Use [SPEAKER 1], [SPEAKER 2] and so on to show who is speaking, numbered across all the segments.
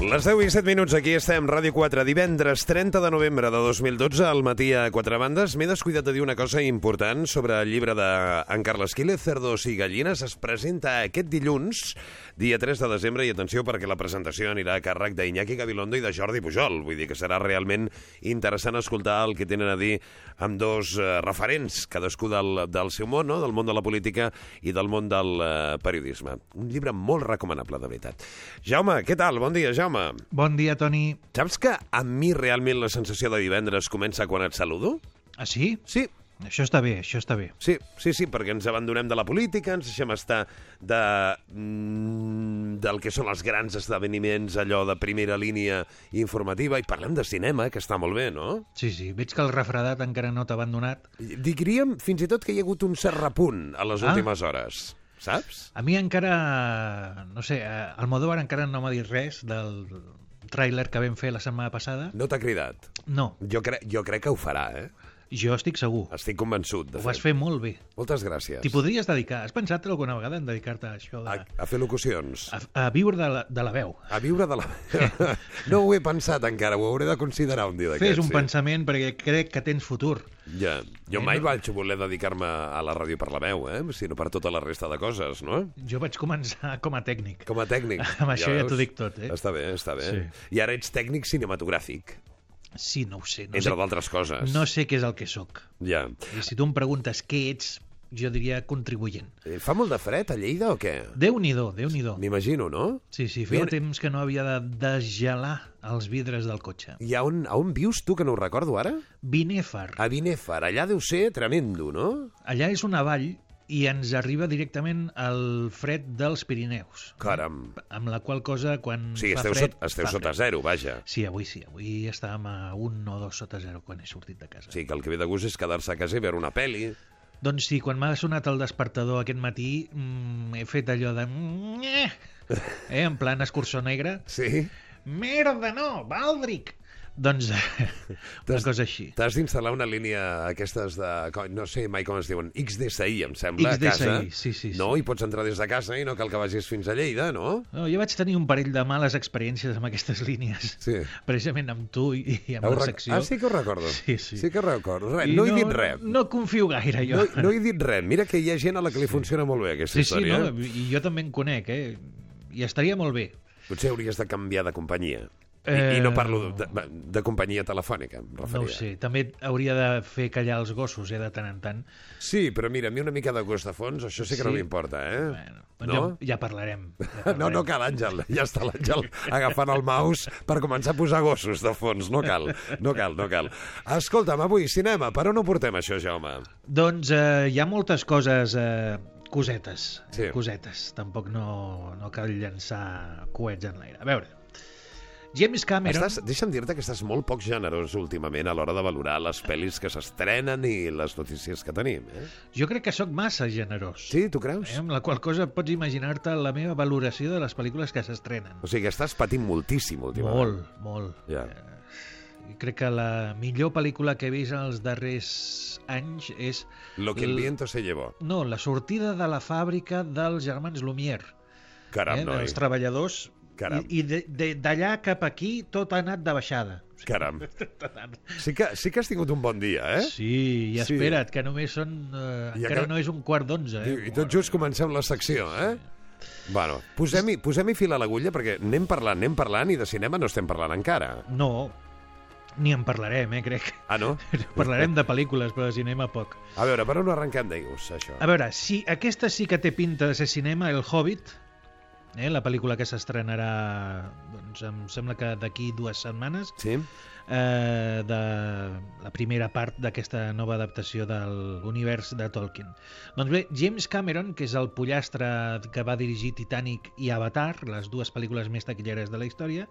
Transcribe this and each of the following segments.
[SPEAKER 1] Les 10 i 7 minuts, aquí estem, Ràdio 4, divendres 30 de novembre de 2012, al matí a quatre bandes. M'he descuidat de dir una cosa important sobre el llibre d'en Carles Quile, Cerdos i Gallines. Es presenta aquest dilluns, dia 3 de desembre, i atenció perquè la presentació anirà a càrrec d'Iñaki Gabilondo i de Jordi Pujol. Vull dir que serà realment interessant escoltar el que tenen a dir amb dos eh, referents, cadascú del, del seu món, no? del món de la política i del món del eh, periodisme. Un llibre molt recomanable, de veritat. Jaume, què tal? Bon dia, Jaume.
[SPEAKER 2] Bon dia, Toni.
[SPEAKER 1] Saps que a mi realment la sensació de divendres comença quan et saludo?
[SPEAKER 2] Ah, sí?
[SPEAKER 1] Sí,
[SPEAKER 2] Això està bé, això està bé.
[SPEAKER 1] sí, sí, sí, perquè ens abandonem de la política, ens deixem estar de, mm, del que són els grans esdeveniments, allò de primera línia informativa, i parlem de cinema, que està molt bé, no?
[SPEAKER 2] Sí, sí, veig que el refredat encara no t'ha abandonat.
[SPEAKER 1] Diríem fins i tot que hi ha hagut un cert repunt a les
[SPEAKER 2] Ah.
[SPEAKER 1] últimes hores, saps?
[SPEAKER 2] A mi encara, no sé, eh, Almodóvar encara no m'ha dit res del tràiler que vam fer la setmana passada.
[SPEAKER 1] No t'ha cridat.
[SPEAKER 2] No,
[SPEAKER 1] Jo, cre jo crec que ho farà, eh?
[SPEAKER 2] jo estic segur.
[SPEAKER 1] Estic convençut, de
[SPEAKER 2] Ho vas fer molt bé.
[SPEAKER 1] Moltes gràcies.
[SPEAKER 2] T'hi podries dedicar. Has pensat alguna vegada en dedicar-te a això?
[SPEAKER 1] A,
[SPEAKER 2] De,
[SPEAKER 1] a fer locucions.
[SPEAKER 2] a, a viure de la, de la veu.
[SPEAKER 1] A viure de la... No ho he pensat encara, ho hauré de considerar un dia d'aquests.
[SPEAKER 2] Fes un
[SPEAKER 1] sí.
[SPEAKER 2] pensament perquè crec que tens futur.
[SPEAKER 1] Ja.
[SPEAKER 2] Eh?
[SPEAKER 1] Jo mai vaig voler dedicar-me a la ràdio per la veu, eh? sinó per tota la resta de coses, no?
[SPEAKER 2] Jo vaig començar com a tècnic.
[SPEAKER 1] Com a tècnic.
[SPEAKER 2] Amb això ja
[SPEAKER 1] veus?
[SPEAKER 2] t'ho dic tot, eh?
[SPEAKER 1] Està bé, està bé.
[SPEAKER 2] Sí.
[SPEAKER 1] I ara ets tècnic cinematogràfic,
[SPEAKER 2] Sí, no ho sé. No
[SPEAKER 1] entre
[SPEAKER 2] sé,
[SPEAKER 1] d'altres coses.
[SPEAKER 2] no sé què és el que sóc.
[SPEAKER 1] Ja.
[SPEAKER 2] I si tu em preguntes què ets, jo diria contribuent.
[SPEAKER 1] Eh, Fa molt de fred a Lleida o què?
[SPEAKER 2] Déu-n'hi-do, déu nhi déu
[SPEAKER 1] M'imagino, no?
[SPEAKER 2] Sí, sí, feia
[SPEAKER 1] Déu-n'hi-
[SPEAKER 2] temps que no havia de desgelar els vidres del cotxe.
[SPEAKER 1] I a on, a on vius tu, que no ho recordo ara?
[SPEAKER 2] Binèfar.
[SPEAKER 1] A Binèfar. Allà deu ser tremendo, no?
[SPEAKER 2] Allà és una vall i ens arriba directament el fred dels Pirineus.
[SPEAKER 1] Caram.
[SPEAKER 2] Amb la qual cosa, quan
[SPEAKER 1] Sí,
[SPEAKER 2] fa
[SPEAKER 1] esteu,
[SPEAKER 2] fred...
[SPEAKER 1] sota, esteu
[SPEAKER 2] fa
[SPEAKER 1] sota
[SPEAKER 2] fred.
[SPEAKER 1] zero, vaja.
[SPEAKER 2] Sí, avui sí. Avui estàvem a un o dos sota zero quan he sortit de casa.
[SPEAKER 1] Sí, que el que ve de gust és quedar-se a casa i veure una pel·li.
[SPEAKER 2] Doncs sí, quan m'ha sonat el despertador aquest matí, mm, he fet allò de... Eh, en plan escurçó negre.
[SPEAKER 1] Sí?
[SPEAKER 2] Merda, no, Baldric! Doncs una
[SPEAKER 1] T'has-
[SPEAKER 2] cosa així.
[SPEAKER 1] T'has d'instal·lar una línia aquestes de... co- No sé mai com es diuen. XDSI, em sembla, a casa.
[SPEAKER 2] XDSI, sí, sí, sí.
[SPEAKER 1] No? I pots entrar des de casa i no cal que vagis fins a Lleida, no?
[SPEAKER 2] No, jo vaig tenir un parell de males experiències amb aquestes línies,
[SPEAKER 1] Sí.
[SPEAKER 2] precisament amb tu i, i amb
[SPEAKER 1] Ho
[SPEAKER 2] la
[SPEAKER 1] rec-
[SPEAKER 2] secció.
[SPEAKER 1] Ah, sí que ho recordo.
[SPEAKER 2] Sí, sí.
[SPEAKER 1] Sí que ho recordo. Res,
[SPEAKER 2] I
[SPEAKER 1] no, he dit res.
[SPEAKER 2] No confio gaire, jo.
[SPEAKER 1] No, no he dit res. Mira que hi ha gent a la que li funciona molt bé aquesta
[SPEAKER 2] sí, sí,
[SPEAKER 1] història. eh?
[SPEAKER 2] no, i jo també en conec, eh? I estaria molt bé.
[SPEAKER 1] Potser hauries de canviar de companyia. I,
[SPEAKER 2] Eh,
[SPEAKER 1] I no parlo de, de companyia telefònica, em
[SPEAKER 2] No
[SPEAKER 1] referia.
[SPEAKER 2] ho sé, també hauria de fer callar els gossos, eh, de tant en tant.
[SPEAKER 1] Sí, però mira, a mi una mica de gust de fons, això sí que no
[SPEAKER 2] Sí.
[SPEAKER 1] m'importa, eh?
[SPEAKER 2] Bueno, doncs
[SPEAKER 1] no?
[SPEAKER 2] ja, ja parlarem. Ja
[SPEAKER 1] No,
[SPEAKER 2] parlarem.
[SPEAKER 1] no cal, Àngel. Ja està l'Àngel agafant el mouse per començar a posar gossos de fons. No cal, no cal, no cal. Escolta'm, avui cinema. Per on ho portem, això, Jaume?
[SPEAKER 2] Doncs eh, hi ha moltes coses, eh, cosetes,
[SPEAKER 1] Sí.
[SPEAKER 2] sí. cosetes. Tampoc no, no cal llançar coets en l'aire. A veure, James Cameron...
[SPEAKER 1] Estàs, deixa'm dir-te que estàs molt poc generós últimament a l'hora de valorar les pel·lis que s'estrenen i les notícies que tenim. Eh?
[SPEAKER 2] Jo crec que sóc massa generós.
[SPEAKER 1] Sí, tu
[SPEAKER 2] Eh,
[SPEAKER 1] creus?
[SPEAKER 2] amb la qual cosa pots imaginar-te la meva valoració de les pel·lícules que s'estrenen.
[SPEAKER 1] O sigui, que estàs patint moltíssim últimament.
[SPEAKER 2] Molt, molt.
[SPEAKER 1] Ja.
[SPEAKER 2] I crec que la millor pel·lícula que he vist en els darrers anys és...
[SPEAKER 1] Lo que el
[SPEAKER 2] L-
[SPEAKER 1] viento se llevó.
[SPEAKER 2] No, la sortida de la fàbrica dels germans Lumière.
[SPEAKER 1] Caram,
[SPEAKER 2] eh,
[SPEAKER 1] noi.
[SPEAKER 2] dels treballadors
[SPEAKER 1] Caram.
[SPEAKER 2] i, i de- de- d'allà cap aquí tot ha anat de baixada
[SPEAKER 1] Caram. Sí que, sí que has tingut un bon dia, eh?
[SPEAKER 2] sí, i
[SPEAKER 1] Sí.
[SPEAKER 2] espera't que només són eh,
[SPEAKER 1] I
[SPEAKER 2] encara
[SPEAKER 1] acaba-
[SPEAKER 2] no és un quart d'onze eh?
[SPEAKER 1] I, I tot just comencem la secció, eh? Bueno, posem-hi posem fil a l'agulla perquè anem parlant, anem parlant i de cinema no estem parlant encara.
[SPEAKER 2] no, ni en parlarem eh, crec
[SPEAKER 1] Ah, no?
[SPEAKER 2] parlarem de pel·lícules però de cinema poc
[SPEAKER 1] A veure, per on ho arrenquem, deius, això?
[SPEAKER 2] a veure, si aquesta sí que té pinta de ser cinema El Hobbit eh, la pel·lícula que s'estrenarà doncs, em sembla que d'aquí dues setmanes
[SPEAKER 1] Sí?
[SPEAKER 2] eh, de la primera part d'aquesta nova adaptació del univers de Tolkien. Doncs bé, James Cameron, que és el pollastre que va dirigir Titanic i Avatar, les dues pel·lícules més taquilleres de la història,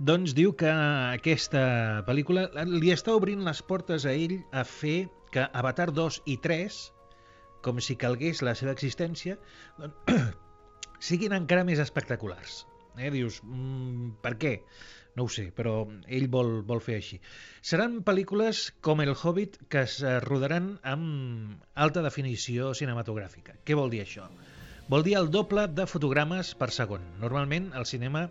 [SPEAKER 2] doncs diu que aquesta pel·lícula li està obrint les portes a ell a fer que Avatar 2 i 3, com si calgués la seva existència, doncs, siguin encara més espectaculars. Eh? Dius, mm, per què? No ho sé, però ell vol, vol fer així. Seran pel·lícules com El Hobbit que es eh, rodaran amb alta definició cinematogràfica. Què vol dir això? Vol dir el doble de fotogrames per segon. Normalment al cinema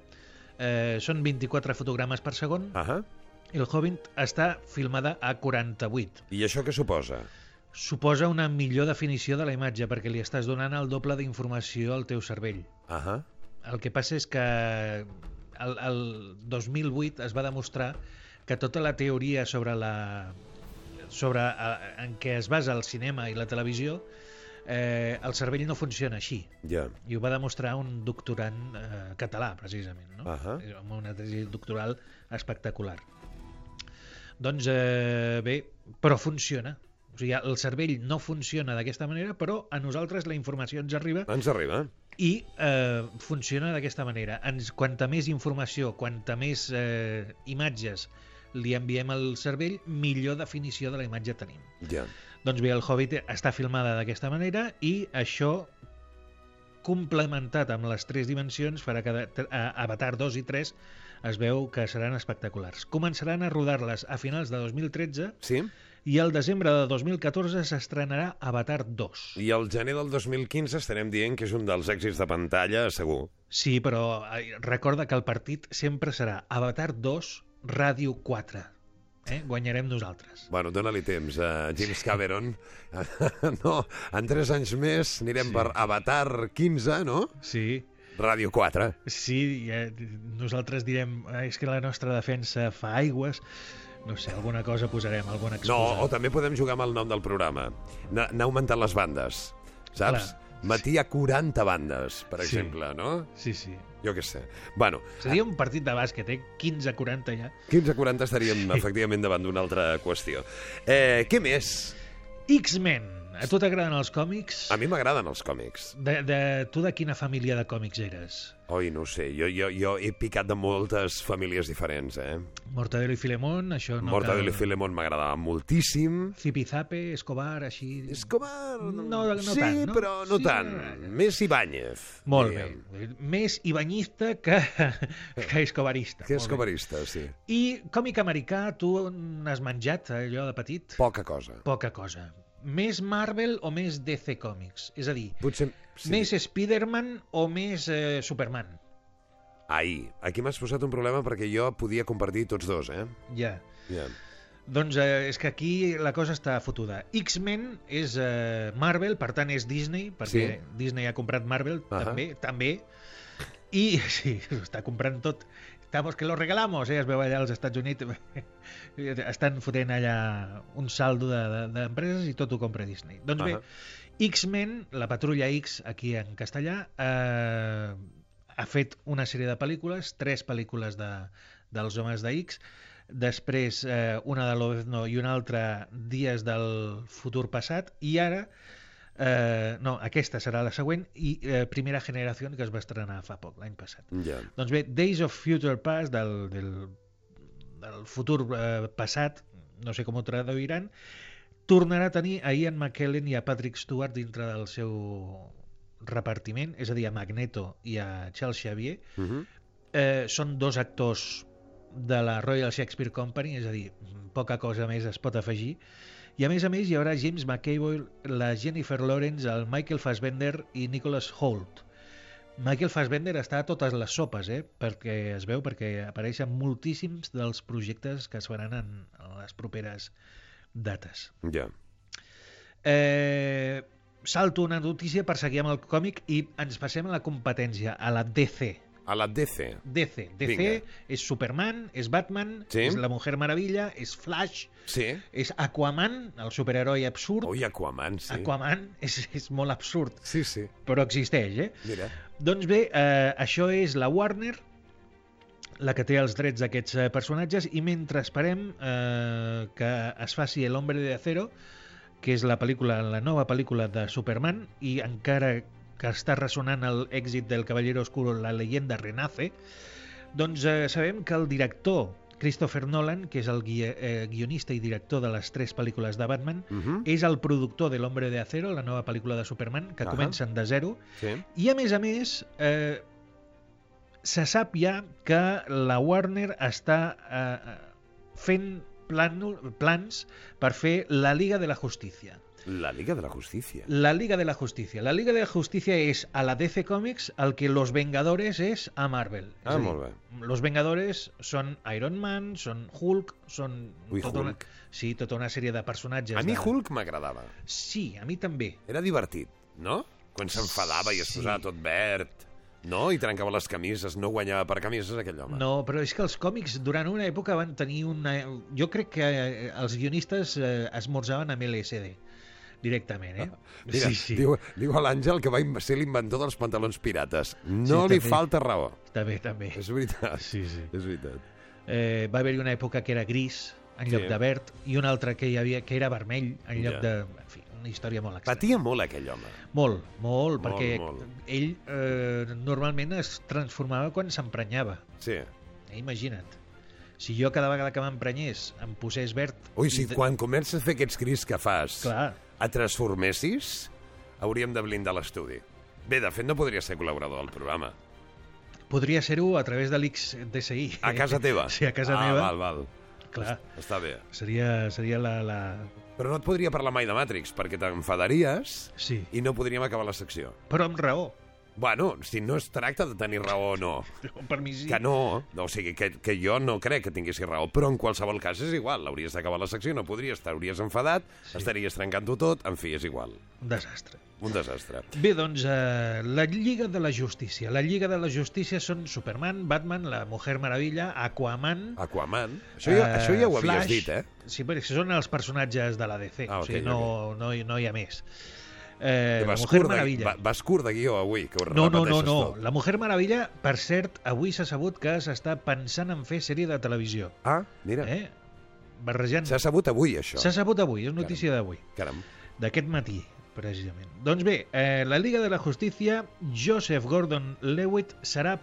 [SPEAKER 2] eh, són 24 fotogrames per segon.
[SPEAKER 1] Ahà.
[SPEAKER 2] El Hobbit està filmada a 48.
[SPEAKER 1] I això què suposa?
[SPEAKER 2] Suposa una millor definició de la imatge perquè li estàs donant el doble d'informació al teu cervell.
[SPEAKER 1] Ahà.
[SPEAKER 2] El que passa és que el, el 2008 es va demostrar que tota la teoria sobre la sobre eh, en què es basa el cinema i la televisió, eh, el cervell no funciona així.
[SPEAKER 1] Ja.
[SPEAKER 2] I ho va demostrar un doctorant eh, català, precisament, no?
[SPEAKER 1] Ahà.
[SPEAKER 2] amb una tesi doctoral espectacular. Doncs eh, bé, però funciona. O sigui, el cervell no funciona d'aquesta manera, però a nosaltres la informació ens arriba
[SPEAKER 1] Ens arriba.
[SPEAKER 2] i eh, funciona d'aquesta manera. Ens, quanta més informació, quanta més eh, imatges li enviem al cervell, millor definició de la imatge tenim.
[SPEAKER 1] Ja.
[SPEAKER 2] Doncs bé, el Hobbit està filmada d'aquesta manera i això complementat amb les tres dimensions farà que de- a- Avatar 2 i 3 es veu que seran espectaculars. Començaran a rodar-les a finals de 2013
[SPEAKER 1] Sí?
[SPEAKER 2] i al desembre de 2014 s'estrenarà Avatar 2.
[SPEAKER 1] I al gener del 2015 estarem dient que és un dels èxits de pantalla, segur.
[SPEAKER 2] Sí, però ai, recorda que el partit sempre serà Avatar 2, Ràdio 4. Eh? Guanyarem nosaltres.
[SPEAKER 1] Bueno, dóna-li temps a James Cameron. no, en tres anys més anirem
[SPEAKER 2] Sí.
[SPEAKER 1] sí. per Avatar 15, no?
[SPEAKER 2] Sí,
[SPEAKER 1] Ràdio 4.
[SPEAKER 2] Sí, ja, nosaltres direm "Ah, és que la nostra defensa fa aigües no sé, alguna cosa posarem, alguna
[SPEAKER 1] No,
[SPEAKER 2] excusa.
[SPEAKER 1] o també podem jugar amb el nom del programa. N'ha n'ha augmentat les bandes, saps?
[SPEAKER 2] Clar.
[SPEAKER 1] Clar. Matí a 40 bandes, per
[SPEAKER 2] Sí.
[SPEAKER 1] exemple, no?
[SPEAKER 2] Sí, sí.
[SPEAKER 1] Jo què sé. Bueno,
[SPEAKER 2] Seria un partit de bàsquet, eh? 15-40 ja.
[SPEAKER 1] 15 a 40 estaríem, efectivament, davant d'una altra qüestió. Eh, què més?
[SPEAKER 2] X-Men. A tu t'agraden els còmics?
[SPEAKER 1] A mi m'agraden els còmics.
[SPEAKER 2] De, de, tu de quina família de còmics eres?
[SPEAKER 1] Oi, no ho sé, jo, jo, jo he picat de moltes famílies diferents, eh?
[SPEAKER 2] Mortadelo i Filemón, això no
[SPEAKER 1] No Mortadelo
[SPEAKER 2] cal...
[SPEAKER 1] i Filemón m'agradava moltíssim.
[SPEAKER 2] Zipizape, Escobar, així...
[SPEAKER 1] Escobar...
[SPEAKER 2] No, no
[SPEAKER 1] sí,
[SPEAKER 2] tant, no?
[SPEAKER 1] però no
[SPEAKER 2] Sí,
[SPEAKER 1] tant.
[SPEAKER 2] eh,
[SPEAKER 1] Més Ibáñez.
[SPEAKER 2] Molt bé.
[SPEAKER 1] diguem.
[SPEAKER 2] Més ibanyista que, que escobarista.
[SPEAKER 1] Eh, Que
[SPEAKER 2] Molt bé.
[SPEAKER 1] escobarista, sí.
[SPEAKER 2] I còmic americà, tu n'has menjat eh, allò de petit?
[SPEAKER 1] Poca cosa.
[SPEAKER 2] Poca cosa. Més Marvel o més DC Comics? És a dir,
[SPEAKER 1] Potser...
[SPEAKER 2] sí. més Spider-Man o més eh, Superman?
[SPEAKER 1] Ahir. Aquí m'has posat un problema perquè jo podia compartir tots dos, eh?
[SPEAKER 2] Ja.
[SPEAKER 1] Ja.
[SPEAKER 2] Doncs eh, és que aquí la cosa està fotuda. X-Men és eh, Marvel, per tant és Disney, perquè
[SPEAKER 1] Sí.
[SPEAKER 2] Disney ha comprat Marvel,
[SPEAKER 1] Ahà.
[SPEAKER 2] també, també. I sí, ho està comprant tot. Estamos que lo regalamos, eh? es veu allà als Estats Units. Estan fotent allà un saldo d'empreses de, d'empreses i tot ho compra Disney. Doncs bé,
[SPEAKER 1] Ahà.
[SPEAKER 2] X-Men, la patrulla X, aquí en castellà, eh, ha fet una sèrie de pel·lícules, tres pel·lícules de, dels homes de X, després eh, una de Lobezno i una altra Dies del futur passat, i ara, eh, no, aquesta serà la següent, i eh, Primera Generació, que es va estrenar fa poc, l'any passat.
[SPEAKER 1] Ja.
[SPEAKER 2] Doncs bé, Days of Future Past, del, del, del futur eh, passat, no sé com ho traduiran, tornarà a tenir a Ian McKellen i a Patrick Stewart dintre del seu repartiment, és a dir, a Magneto i a Charles Xavier.
[SPEAKER 1] Uh -huh.
[SPEAKER 2] Eh, són dos actors de la Royal Shakespeare Company, és a dir, poca cosa més es pot afegir. I a més a més hi haurà James McAvoy, la Jennifer Lawrence, el Michael Fassbender i Nicholas Holt. Michael Fassbender està a totes les sopes, eh? perquè es veu, perquè apareixen moltíssims dels projectes que es faran en, en les properes dates.
[SPEAKER 1] Ja.
[SPEAKER 2] Eh, salto una notícia per seguir amb el còmic i ens passem a la competència, a la DC.
[SPEAKER 1] A la DC.
[SPEAKER 2] DC. DC
[SPEAKER 1] Vinga.
[SPEAKER 2] és Superman, és Batman,
[SPEAKER 1] Sí.
[SPEAKER 2] és la Mujer Maravilla, és Flash,
[SPEAKER 1] Sí.
[SPEAKER 2] és Aquaman, el superheroi absurd.
[SPEAKER 1] Oi, Aquaman, sí.
[SPEAKER 2] Aquaman és, és molt absurd,
[SPEAKER 1] Sí, sí.
[SPEAKER 2] però existeix, eh?
[SPEAKER 1] Mira.
[SPEAKER 2] Doncs bé, eh, això és la Warner, la que té els drets d'aquests eh, personatges, i mentre esperem eh, que es faci El Hombre de Acero, que és la pel·lícula, la nova pel·lícula de Superman, i encara que està ressonant el èxit del Caballero Oscuro, la leyenda renace, doncs eh, sabem que el director Christopher Nolan, que és el gui eh, guionista i director de les tres pel·lícules de Batman,
[SPEAKER 1] Uh -huh.
[SPEAKER 2] és el productor de L'Hombre de Acero, la nova pel·lícula de Superman, que
[SPEAKER 1] Ahà.
[SPEAKER 2] comencen de zero,
[SPEAKER 1] Sí.
[SPEAKER 2] i a més a més, eh, se sap ja que la Warner està eh, fent plan, plans per fer la Liga de la Justícia.
[SPEAKER 1] La Liga de la Justicia.
[SPEAKER 2] La Liga de la Justicia. La Liga de la Justicia és a la DC Comics el que Los Vengadores és a Marvel.
[SPEAKER 1] Ah,
[SPEAKER 2] és a dir,
[SPEAKER 1] molt bé.
[SPEAKER 2] Los Vengadores són Iron Man, són Hulk, són
[SPEAKER 1] Ui,
[SPEAKER 2] tota,
[SPEAKER 1] Hulk.
[SPEAKER 2] Una, sí, tota una sèrie de personatges.
[SPEAKER 1] A mi
[SPEAKER 2] de-
[SPEAKER 1] Hulk m'agradava.
[SPEAKER 2] Sí, a mi també.
[SPEAKER 1] Era divertit, no? Quan s'enfadava i es
[SPEAKER 2] Sí.
[SPEAKER 1] posava tot verd, no? I trencava les camises, no guanyava per camises aquell home.
[SPEAKER 2] No, però és que els còmics durant una època van tenir una... Jo crec que eh, els guionistes eh, esmorzaven amb LSD directament, eh?
[SPEAKER 1] Mira, Diu, diu a l'Àngel que va in- ser l'inventor dels pantalons pirates. No
[SPEAKER 2] Sí, també.
[SPEAKER 1] li falta raó.
[SPEAKER 2] També, també.
[SPEAKER 1] És veritat.
[SPEAKER 2] Sí, sí.
[SPEAKER 1] És veritat.
[SPEAKER 2] Eh, va haver-hi una època que era gris en lloc
[SPEAKER 1] Sí.
[SPEAKER 2] de verd i una altra que hi havia que era vermell en lloc
[SPEAKER 1] Ja.
[SPEAKER 2] de... En fi, una història molt extra.
[SPEAKER 1] Patia molt aquell home.
[SPEAKER 2] Molt, molt,
[SPEAKER 1] Molt,
[SPEAKER 2] perquè
[SPEAKER 1] molt.
[SPEAKER 2] ell eh, normalment es transformava quan s'emprenyava.
[SPEAKER 1] Sí.
[SPEAKER 2] Eh, imagina't. Si jo cada vegada que m'emprenyés em posés verd...
[SPEAKER 1] Ui,
[SPEAKER 2] i
[SPEAKER 1] si
[SPEAKER 2] de-
[SPEAKER 1] quan comences a fer aquests crits que fas
[SPEAKER 2] Clar,
[SPEAKER 1] a transformessis, hauríem de blindar l'estudi. Bé, de fet, no podria ser col·laborador del programa.
[SPEAKER 2] podria ser-ho a través de l'XDSI.
[SPEAKER 1] A casa teva.
[SPEAKER 2] Sí, a casa
[SPEAKER 1] ah,
[SPEAKER 2] meva.
[SPEAKER 1] Val, val.
[SPEAKER 2] Clar,
[SPEAKER 1] Està bé.
[SPEAKER 2] seria, seria la, la...
[SPEAKER 1] Però no et podria parlar mai de Matrix, perquè t'enfadaries
[SPEAKER 2] Sí,
[SPEAKER 1] i no podríem acabar la secció.
[SPEAKER 2] però amb raó.
[SPEAKER 1] Bueno, si no es tracta de tenir raó o no.
[SPEAKER 2] Per mi sí.
[SPEAKER 1] Que no, o sigui, que, que jo no crec que tinguessis raó, però en qualsevol cas és igual, hauries d'acabar la secció, no podries, t'hauries enfadat, sí. estaries trencant-ho tot, en fi, és igual.
[SPEAKER 2] Un desastre.
[SPEAKER 1] Un desastre.
[SPEAKER 2] Bé, doncs, eh, la Lliga de la Justícia. La Lliga de la Justícia són Superman, Batman, la Mujer Maravilla, Aquaman...
[SPEAKER 1] Aquaman. Ah, Això ja,
[SPEAKER 2] eh,
[SPEAKER 1] això ja ho havies
[SPEAKER 2] Flash.
[SPEAKER 1] dit, eh?
[SPEAKER 2] Sí, perquè són els personatges de la DC,
[SPEAKER 1] Ah,
[SPEAKER 2] ah,
[SPEAKER 1] ok,
[SPEAKER 2] okay, o sigui, no, no, hi- no hi ha més. Eh, la
[SPEAKER 1] Vas
[SPEAKER 2] Mujer
[SPEAKER 1] curt de-
[SPEAKER 2] Maravilla.
[SPEAKER 1] va- Vas curt de guió avui, que ho
[SPEAKER 2] No, no, no,
[SPEAKER 1] repeteixes
[SPEAKER 2] no.
[SPEAKER 1] tot.
[SPEAKER 2] La Mujer Maravilla, per cert, avui s'ha sabut que s'està pensant en fer sèrie de televisió.
[SPEAKER 1] Ah, mira, eh?
[SPEAKER 2] Eh? Barrejant...
[SPEAKER 1] s'ha sabut avui, això.
[SPEAKER 2] S'ha sabut avui, és notícia d'avui,
[SPEAKER 1] Caram.
[SPEAKER 2] d'aquest matí, precisament. Doncs bé, eh, la Lliga de la Justícia, Joseph Gordon-Lewitt serà,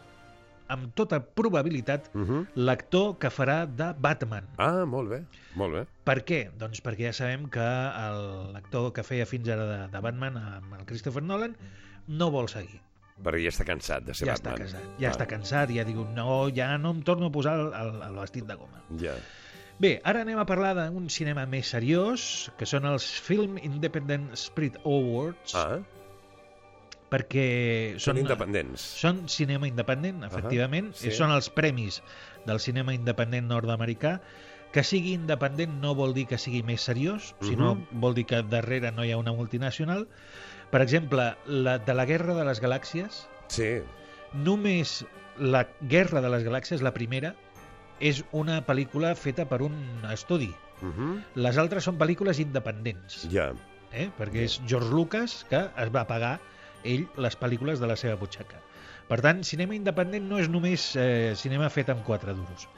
[SPEAKER 2] amb tota probabilitat,
[SPEAKER 1] Uh -huh.
[SPEAKER 2] l'actor que farà de Batman.
[SPEAKER 1] Ah, molt bé, molt bé.
[SPEAKER 2] Per què? Doncs perquè ja sabem que el- l'actor que feia fins ara de, de Batman amb el Christopher Nolan no vol seguir.
[SPEAKER 1] Però ja està cansat de ser
[SPEAKER 2] ja
[SPEAKER 1] Batman.
[SPEAKER 2] està cansat, ja està cansat, ja diu, no, ja no em torno a posar el, el, el vestit de goma.
[SPEAKER 1] Ja.
[SPEAKER 2] Bé, ara anem a parlar d'un cinema més seriós, que són els Film Independent Spirit Awards,
[SPEAKER 1] Ah,
[SPEAKER 2] perquè
[SPEAKER 1] són
[SPEAKER 2] són,
[SPEAKER 1] independents.
[SPEAKER 2] són cinema independent, efectivament,
[SPEAKER 1] sí.
[SPEAKER 2] i són els premis del cinema independent nord-americà. Que sigui independent no vol dir que sigui més seriós, sinó
[SPEAKER 1] Mhm.
[SPEAKER 2] vol dir que darrere no hi ha una multinacional. Per exemple, la de la Guerra de les Galàxies,
[SPEAKER 1] Sí,
[SPEAKER 2] només la Guerra de les Galàxies, la primera, és una pel·lícula feta per un estudi.
[SPEAKER 1] uh -huh.
[SPEAKER 2] Les altres són pel·lícules independents,
[SPEAKER 1] ja.
[SPEAKER 2] eh? perquè és George Lucas que es va pagar ell les pel·lícules de la seva butxaca. Per tant, cinema independent no és només eh, cinema fet amb quatre duros.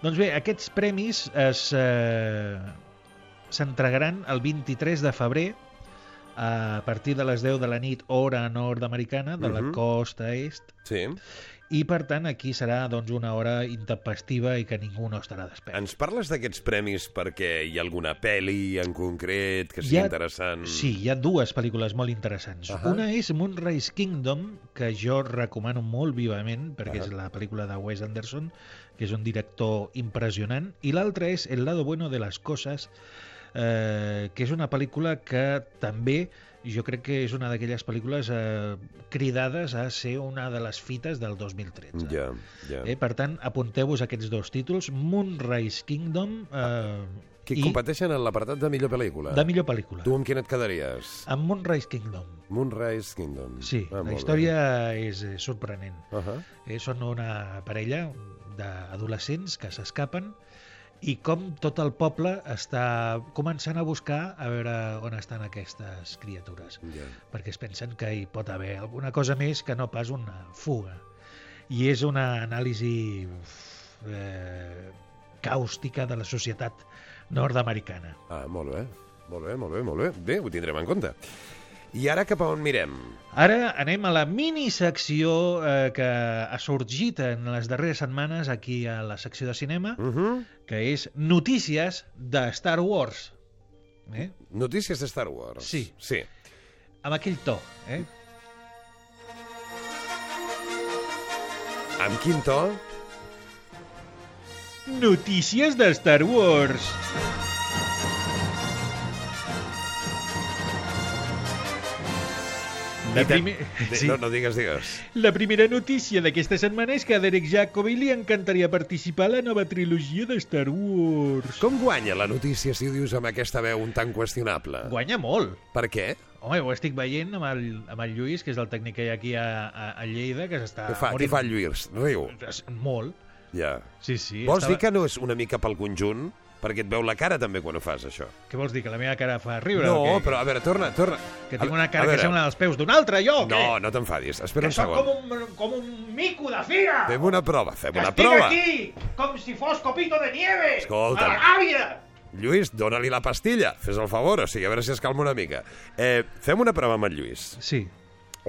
[SPEAKER 2] Doncs bé, aquests premis es eh, s'entregaran el 23 de febrer a partir de les 10 de la nit, hora nord-americana, de la
[SPEAKER 1] Mhm.
[SPEAKER 2] costa est,
[SPEAKER 1] Sí.
[SPEAKER 2] i per tant aquí serà doncs, una hora intempestiva i que ningú no estarà despert.
[SPEAKER 1] Ens parles d'aquests premis perquè hi ha alguna pel·li en concret que sigui
[SPEAKER 2] Hi ha-
[SPEAKER 1] interessant?
[SPEAKER 2] Sí, hi ha dues pel·lícules molt interessants.
[SPEAKER 1] Ahà.
[SPEAKER 2] Una és Moonrise Kingdom, que jo recomano molt vivament, perquè és la pel·lícula de Wes Anderson, que és un director impressionant, i l'altra és El lado bueno de las cosas, eh, que és una pel·lícula que també jo crec que és una d'aquelles pel·lícules eh, cridades a ser una de les fites del 2013.
[SPEAKER 1] Ja, ja.
[SPEAKER 2] Eh, per tant, apunteu-vos aquests dos títols, Moonrise Kingdom eh,
[SPEAKER 1] que
[SPEAKER 2] i
[SPEAKER 1] competeixen en l'apartat de millor pel·lícula.
[SPEAKER 2] de millor pel·lícula.
[SPEAKER 1] Tu amb quina et quedaries?
[SPEAKER 2] Amb Moonrise Kingdom.
[SPEAKER 1] Moonrise Kingdom.
[SPEAKER 2] Sí,
[SPEAKER 1] Ah, molt
[SPEAKER 2] la
[SPEAKER 1] bé.
[SPEAKER 2] història és eh, sorprenent.
[SPEAKER 1] Uh -huh.
[SPEAKER 2] Eh, són una parella d'adolescents que s'escapen i com tot el poble està començant a buscar a veure on estan aquestes criatures
[SPEAKER 1] ja.
[SPEAKER 2] perquè es pensen que hi pot haver alguna cosa més que no pas una fuga. I és una anàlisi uf, eh, càustica de la societat nord-americana.
[SPEAKER 1] Ah, molt bé. Molt bé, molt bé, molt bé. Bé, ho tindrem en compte. I ara cap a on mirem?
[SPEAKER 2] Ara anem a la minisecció eh, que ha sorgit en les darreres setmanes aquí a la secció de cinema,
[SPEAKER 1] Uh -huh.
[SPEAKER 2] que és Notícies de Star Wars. Eh?
[SPEAKER 1] Notícies de Star Wars.
[SPEAKER 2] Sí.
[SPEAKER 1] Sí.
[SPEAKER 2] Amb aquell to, eh?
[SPEAKER 1] Amb quin to?
[SPEAKER 2] Notícies de Star Wars. La,
[SPEAKER 1] I te-
[SPEAKER 2] primer...
[SPEAKER 1] Di-
[SPEAKER 2] sí.
[SPEAKER 1] No, no digues, digues.
[SPEAKER 2] la primera notícia d'aquesta setmana és que a Derek Jacobi li encantaria participar a la nova trilogia de Star Wars.
[SPEAKER 1] Com guanya la notícia si ho dius amb aquesta veu un tan qüestionable?
[SPEAKER 2] Guanya molt.
[SPEAKER 1] Per què?
[SPEAKER 2] Home, ho estic veient amb el, amb el Lluís, que és el tècnic que hi ha aquí a, a, a Lleida, que s'està
[SPEAKER 1] què fa, què fa el Lluís? Riu.
[SPEAKER 2] Es- Molt.
[SPEAKER 1] Ja.
[SPEAKER 2] Sí, sí.
[SPEAKER 1] Vols dir que no és una mica pel conjunt? Perquè et veu la cara també quan ho fas, això.
[SPEAKER 2] Què vols dir, que la meva cara fa riure?
[SPEAKER 1] No,
[SPEAKER 2] o què?
[SPEAKER 1] però a veure, torna, torna.
[SPEAKER 2] Que
[SPEAKER 1] A-
[SPEAKER 2] tinc una
[SPEAKER 1] a
[SPEAKER 2] cara que
[SPEAKER 1] veure.
[SPEAKER 2] sembla dels peus d'un altre, jo, o què?
[SPEAKER 1] No, no t'enfadis.
[SPEAKER 2] que
[SPEAKER 1] Espera un
[SPEAKER 2] sóc
[SPEAKER 1] segon.
[SPEAKER 2] com un, com un mico de fira!
[SPEAKER 1] Fem una prova, fem
[SPEAKER 2] que
[SPEAKER 1] una
[SPEAKER 2] estic
[SPEAKER 1] prova.
[SPEAKER 2] aquí com si fos copito de nieve!
[SPEAKER 1] Escolta'm.
[SPEAKER 2] A la gàbia!
[SPEAKER 1] Lluís, dóna-li la pastilla. Fes el favor, o sigui, a veure si es calma una mica. Eh, fem una prova amb el Lluís.
[SPEAKER 2] Sí,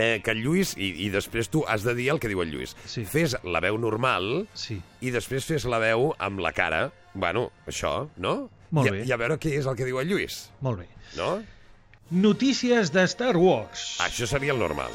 [SPEAKER 1] Eh, que el Lluís, i, i després tu has de dir el que diu el Lluís.
[SPEAKER 2] Sí.
[SPEAKER 1] Fes la veu normal
[SPEAKER 2] sí.
[SPEAKER 1] i després fes la veu amb la cara. Bueno, això, no?
[SPEAKER 2] Molt
[SPEAKER 1] I, a-
[SPEAKER 2] bé.
[SPEAKER 1] I a veure què és el que diu el Lluís,
[SPEAKER 2] Molt bé.
[SPEAKER 1] no?
[SPEAKER 2] Notícies de Star Wars.
[SPEAKER 1] Això seria el normal.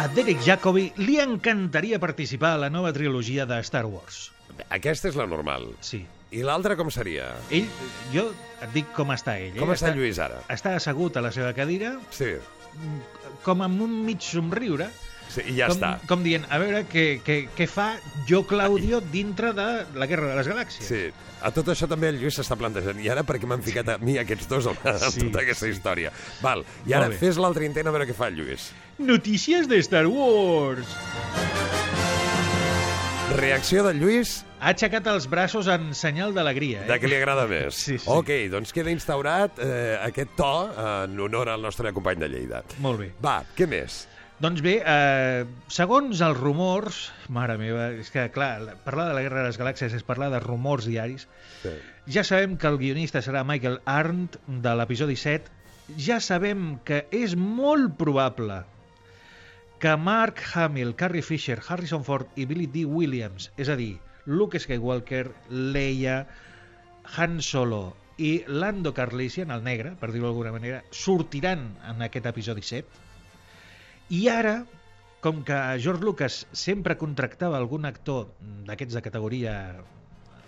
[SPEAKER 2] A Derek Jacobi li encantaria participar a la nova trilogia de Star Wars.
[SPEAKER 1] Aquesta és la normal.
[SPEAKER 2] Sí.
[SPEAKER 1] I l'altra com seria?
[SPEAKER 2] Ell, jo et dic com està ell.
[SPEAKER 1] Com
[SPEAKER 2] eh?
[SPEAKER 1] està el Lluís ara?
[SPEAKER 2] Està assegut a la seva cadira,
[SPEAKER 1] Sí,
[SPEAKER 2] mm, com amb un mig somriure,
[SPEAKER 1] sí i ja
[SPEAKER 2] com,
[SPEAKER 1] està.
[SPEAKER 2] com dient, a veure què, què, què fa jo, Claudio, dintre de la Guerra de les Galàxies.
[SPEAKER 1] Sí, a tot això també el Lluís s'està plantejant. I ara per què m'han ficat a mi aquests dos amb, amb
[SPEAKER 2] Sí,
[SPEAKER 1] tota aquesta
[SPEAKER 2] sí.
[SPEAKER 1] història? Val, i
[SPEAKER 2] Molt
[SPEAKER 1] ara
[SPEAKER 2] bé.
[SPEAKER 1] fes l'altre intent a veure què fa el Lluís.
[SPEAKER 2] Notícies de Star Wars.
[SPEAKER 1] Reacció del Lluís
[SPEAKER 2] Ha aixecat els braços en senyal d'alegria. Eh?
[SPEAKER 1] de què li agrada més.
[SPEAKER 2] Sí, sí.
[SPEAKER 1] Ok, doncs queda instaurat eh, aquest to eh, en honor al nostre company de Lleida.
[SPEAKER 2] Molt bé.
[SPEAKER 1] Va, què més?
[SPEAKER 2] Doncs bé, eh, segons els rumors... Mare meva, és que, clar, la- parlar de la Guerra de les Galàxies és parlar de rumors diaris.
[SPEAKER 1] Sí.
[SPEAKER 2] Ja sabem que el guionista serà Michael Arndt, de l'episodi 7. Ja sabem que és molt probable que Mark Hamill, Carrie Fisher, Harrison Ford i Billy D. Williams, és a dir, Luke Skywalker, Leia, Han Solo i Lando Carlisian, el negre, per dir-ho d'alguna manera, sortiran en aquest episodi 7. I ara, com que George Lucas sempre contractava algun actor d'aquests de categoria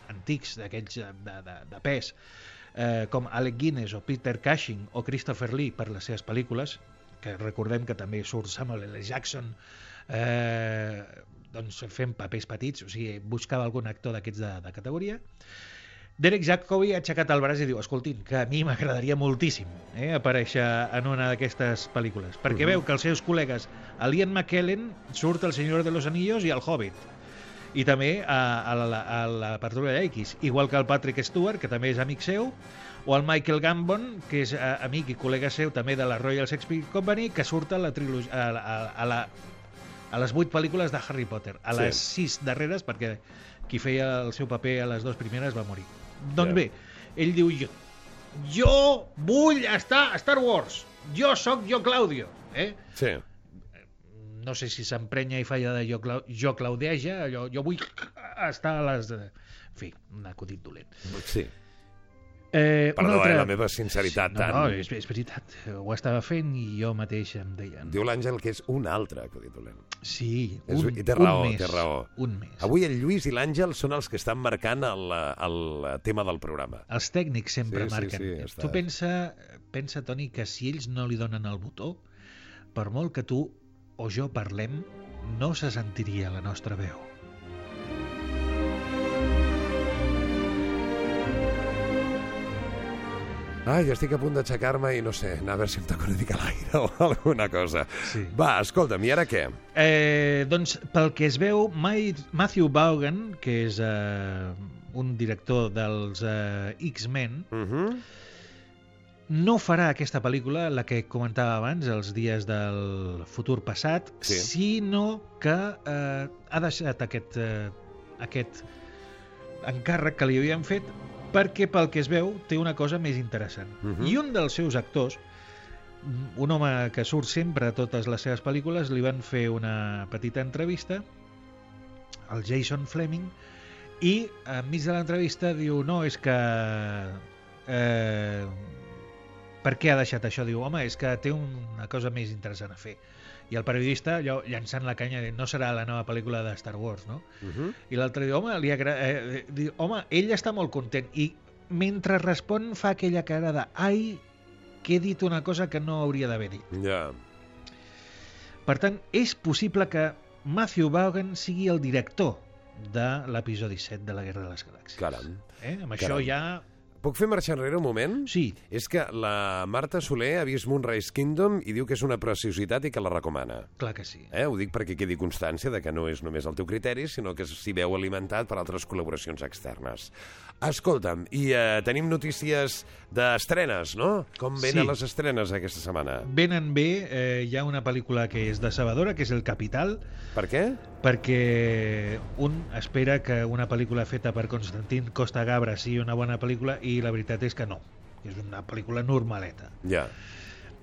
[SPEAKER 2] antics, d'aquests eh, de, de, de, de pes, eh, com Alec Guinness o Peter Cushing o Christopher Lee per les seves pel·lícules, que recordem que també surt Samuel L. Jackson eh, doncs fent papers petits, o sigui, buscava algun actor d'aquests de, de categoria, Derek Jacobi ha aixecat el braç i diu escoltin, que a mi m'agradaria moltíssim eh, aparèixer en una d'aquestes pel·lícules perquè veu que els seus col·legues a l'Ian McKellen surt el Senyor de los Anillos i el Hobbit i també a, a, la, a la Patrulla X igual que el Patrick Stewart, que també és amic seu o el Michael Gambon que és eh, amic i col·lega seu també de la Royal Shakespeare Company que surt a la trilogia a, la- a, a la a les vuit pel·lícules de Harry Potter, a
[SPEAKER 1] Sí.
[SPEAKER 2] les sis darreres, perquè qui feia el seu paper a les dues primeres va morir. Doncs
[SPEAKER 1] Ja.
[SPEAKER 2] bé, ell diu jo, jo vull estar a Star Wars, jo sóc jo Claudio, eh?
[SPEAKER 1] Sí.
[SPEAKER 2] No sé si s'emprenya i falla de jo, Clau jo Claudeja, allò, jo vull estar a les... de-". En fi, un acudit dolent.
[SPEAKER 1] sí.
[SPEAKER 2] Eh,
[SPEAKER 1] Perdó, eh, la meva sinceritat eh?
[SPEAKER 2] No,
[SPEAKER 1] tant.
[SPEAKER 2] no, és, és veritat, ho estava fent i jo mateix em deia...
[SPEAKER 1] Diu l'Àngel que és un altre acudit dolent.
[SPEAKER 2] Sí,
[SPEAKER 1] És-
[SPEAKER 2] un,
[SPEAKER 1] i té
[SPEAKER 2] un
[SPEAKER 1] raó,
[SPEAKER 2] més,
[SPEAKER 1] té raó.
[SPEAKER 2] Un més.
[SPEAKER 1] Avui el Lluís i l'Àngel són els que estan marcant el, el tema del programa.
[SPEAKER 2] Els tècnics sempre sí,
[SPEAKER 1] Sí, sí,
[SPEAKER 2] marquen.
[SPEAKER 1] sí,
[SPEAKER 2] Sí, sí,
[SPEAKER 1] està.
[SPEAKER 2] tu pensa, pensa, Toni, que si ells no li donen el botó, per molt que tu o jo parlem, no se sentiria la nostra veu.
[SPEAKER 1] Ai, estic a punt d'aixecar-me i no sé, anar a veure si em toca una mica l'aire o alguna cosa.
[SPEAKER 2] Sí.
[SPEAKER 1] Va, escolta'm, i ara què?
[SPEAKER 2] Eh, doncs, pel que es veu, Mai- Matthew Vaughan, que és eh, un director dels eh, X-Men,
[SPEAKER 1] Uh
[SPEAKER 2] Mhm,
[SPEAKER 1] -huh.
[SPEAKER 2] no farà aquesta pel·lícula, la que comentava abans, els dies del futur passat,
[SPEAKER 1] Sí.
[SPEAKER 2] sinó que eh, ha deixat aquest, eh, aquest encàrrec que li havien fet perquè, pel que es veu, té una cosa més interessant.
[SPEAKER 1] Mhm.
[SPEAKER 2] I un dels seus actors, mm, un home que surt sempre a totes les seves pel·lícules, li van fer una petita entrevista, el Jason Fleming, i enmig de l'entrevista diu no, és que eh, per què ha deixat això? Diu, home, és que té una cosa més interessant a fer. I el periodista, allò, llançant la canya, diu, no serà la nova pel·lícula de Star Wars, no?
[SPEAKER 1] Uh -huh.
[SPEAKER 2] I l'altre diu, home, li agra... eh, diu, home, ell està molt content. I mentre respon fa aquella cara de, ai, que he dit una cosa que no hauria d'haver dit.
[SPEAKER 1] Ja.
[SPEAKER 2] Per tant, és possible que Matthew Vaughan sigui el director de l'episodi 7 de la Guerra de les Galàxies.
[SPEAKER 1] Caram.
[SPEAKER 2] Eh? Amb això
[SPEAKER 1] Caram.
[SPEAKER 2] ja...
[SPEAKER 1] Puc fer marxar enrere un moment?
[SPEAKER 2] Sí,
[SPEAKER 1] És que la Marta Soler ha vist Moonrise Kingdom i diu que és una preciositat i que la recomana.
[SPEAKER 2] clar que sí.
[SPEAKER 1] Eh? Ho dic perquè quedi constància de que no és només el teu criteri, sinó que s'hi veu alimentat per altres col·laboracions externes. Escolta'm, i eh, tenim notícies d'estrenes, no? Com
[SPEAKER 2] Sí.
[SPEAKER 1] venen les estrenes aquesta setmana?
[SPEAKER 2] Venen bé, eh, hi ha una pel·lícula que és decebedora, que és El Capital,
[SPEAKER 1] Per què?
[SPEAKER 2] perquè un espera que una pel·lícula feta per Constantin Costa Gabra sigui una bona pel·lícula i la veritat és que no, que és una pel·lícula normaleta.
[SPEAKER 1] Ja.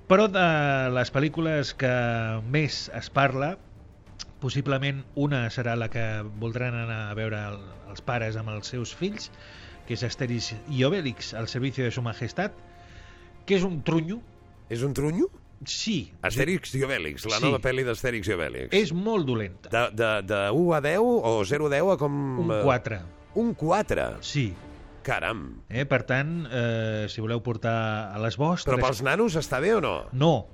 [SPEAKER 2] Però de les pel·lícules que més es parla, possiblement una serà la que voldran anar a veure el, els pares amb els seus fills, que és Asterix i Obélix, al servicio de su majestat, que és un trunyo,
[SPEAKER 1] És un trunyo?
[SPEAKER 2] sí,
[SPEAKER 1] Astèrix i Obèlix, la
[SPEAKER 2] Sí.
[SPEAKER 1] nova pel·li d'Astèrix i Obèlix.
[SPEAKER 2] és molt dolenta.
[SPEAKER 1] De, de, de 1 a 10 o 0 a 10 a com...
[SPEAKER 2] Un
[SPEAKER 1] eh,
[SPEAKER 2] 4,
[SPEAKER 1] Un 4.
[SPEAKER 2] sí.
[SPEAKER 1] Caram.
[SPEAKER 2] Eh? Per tant, eh, si voleu portar a les vostres...
[SPEAKER 1] Però pels nanos està bé o no?
[SPEAKER 2] No.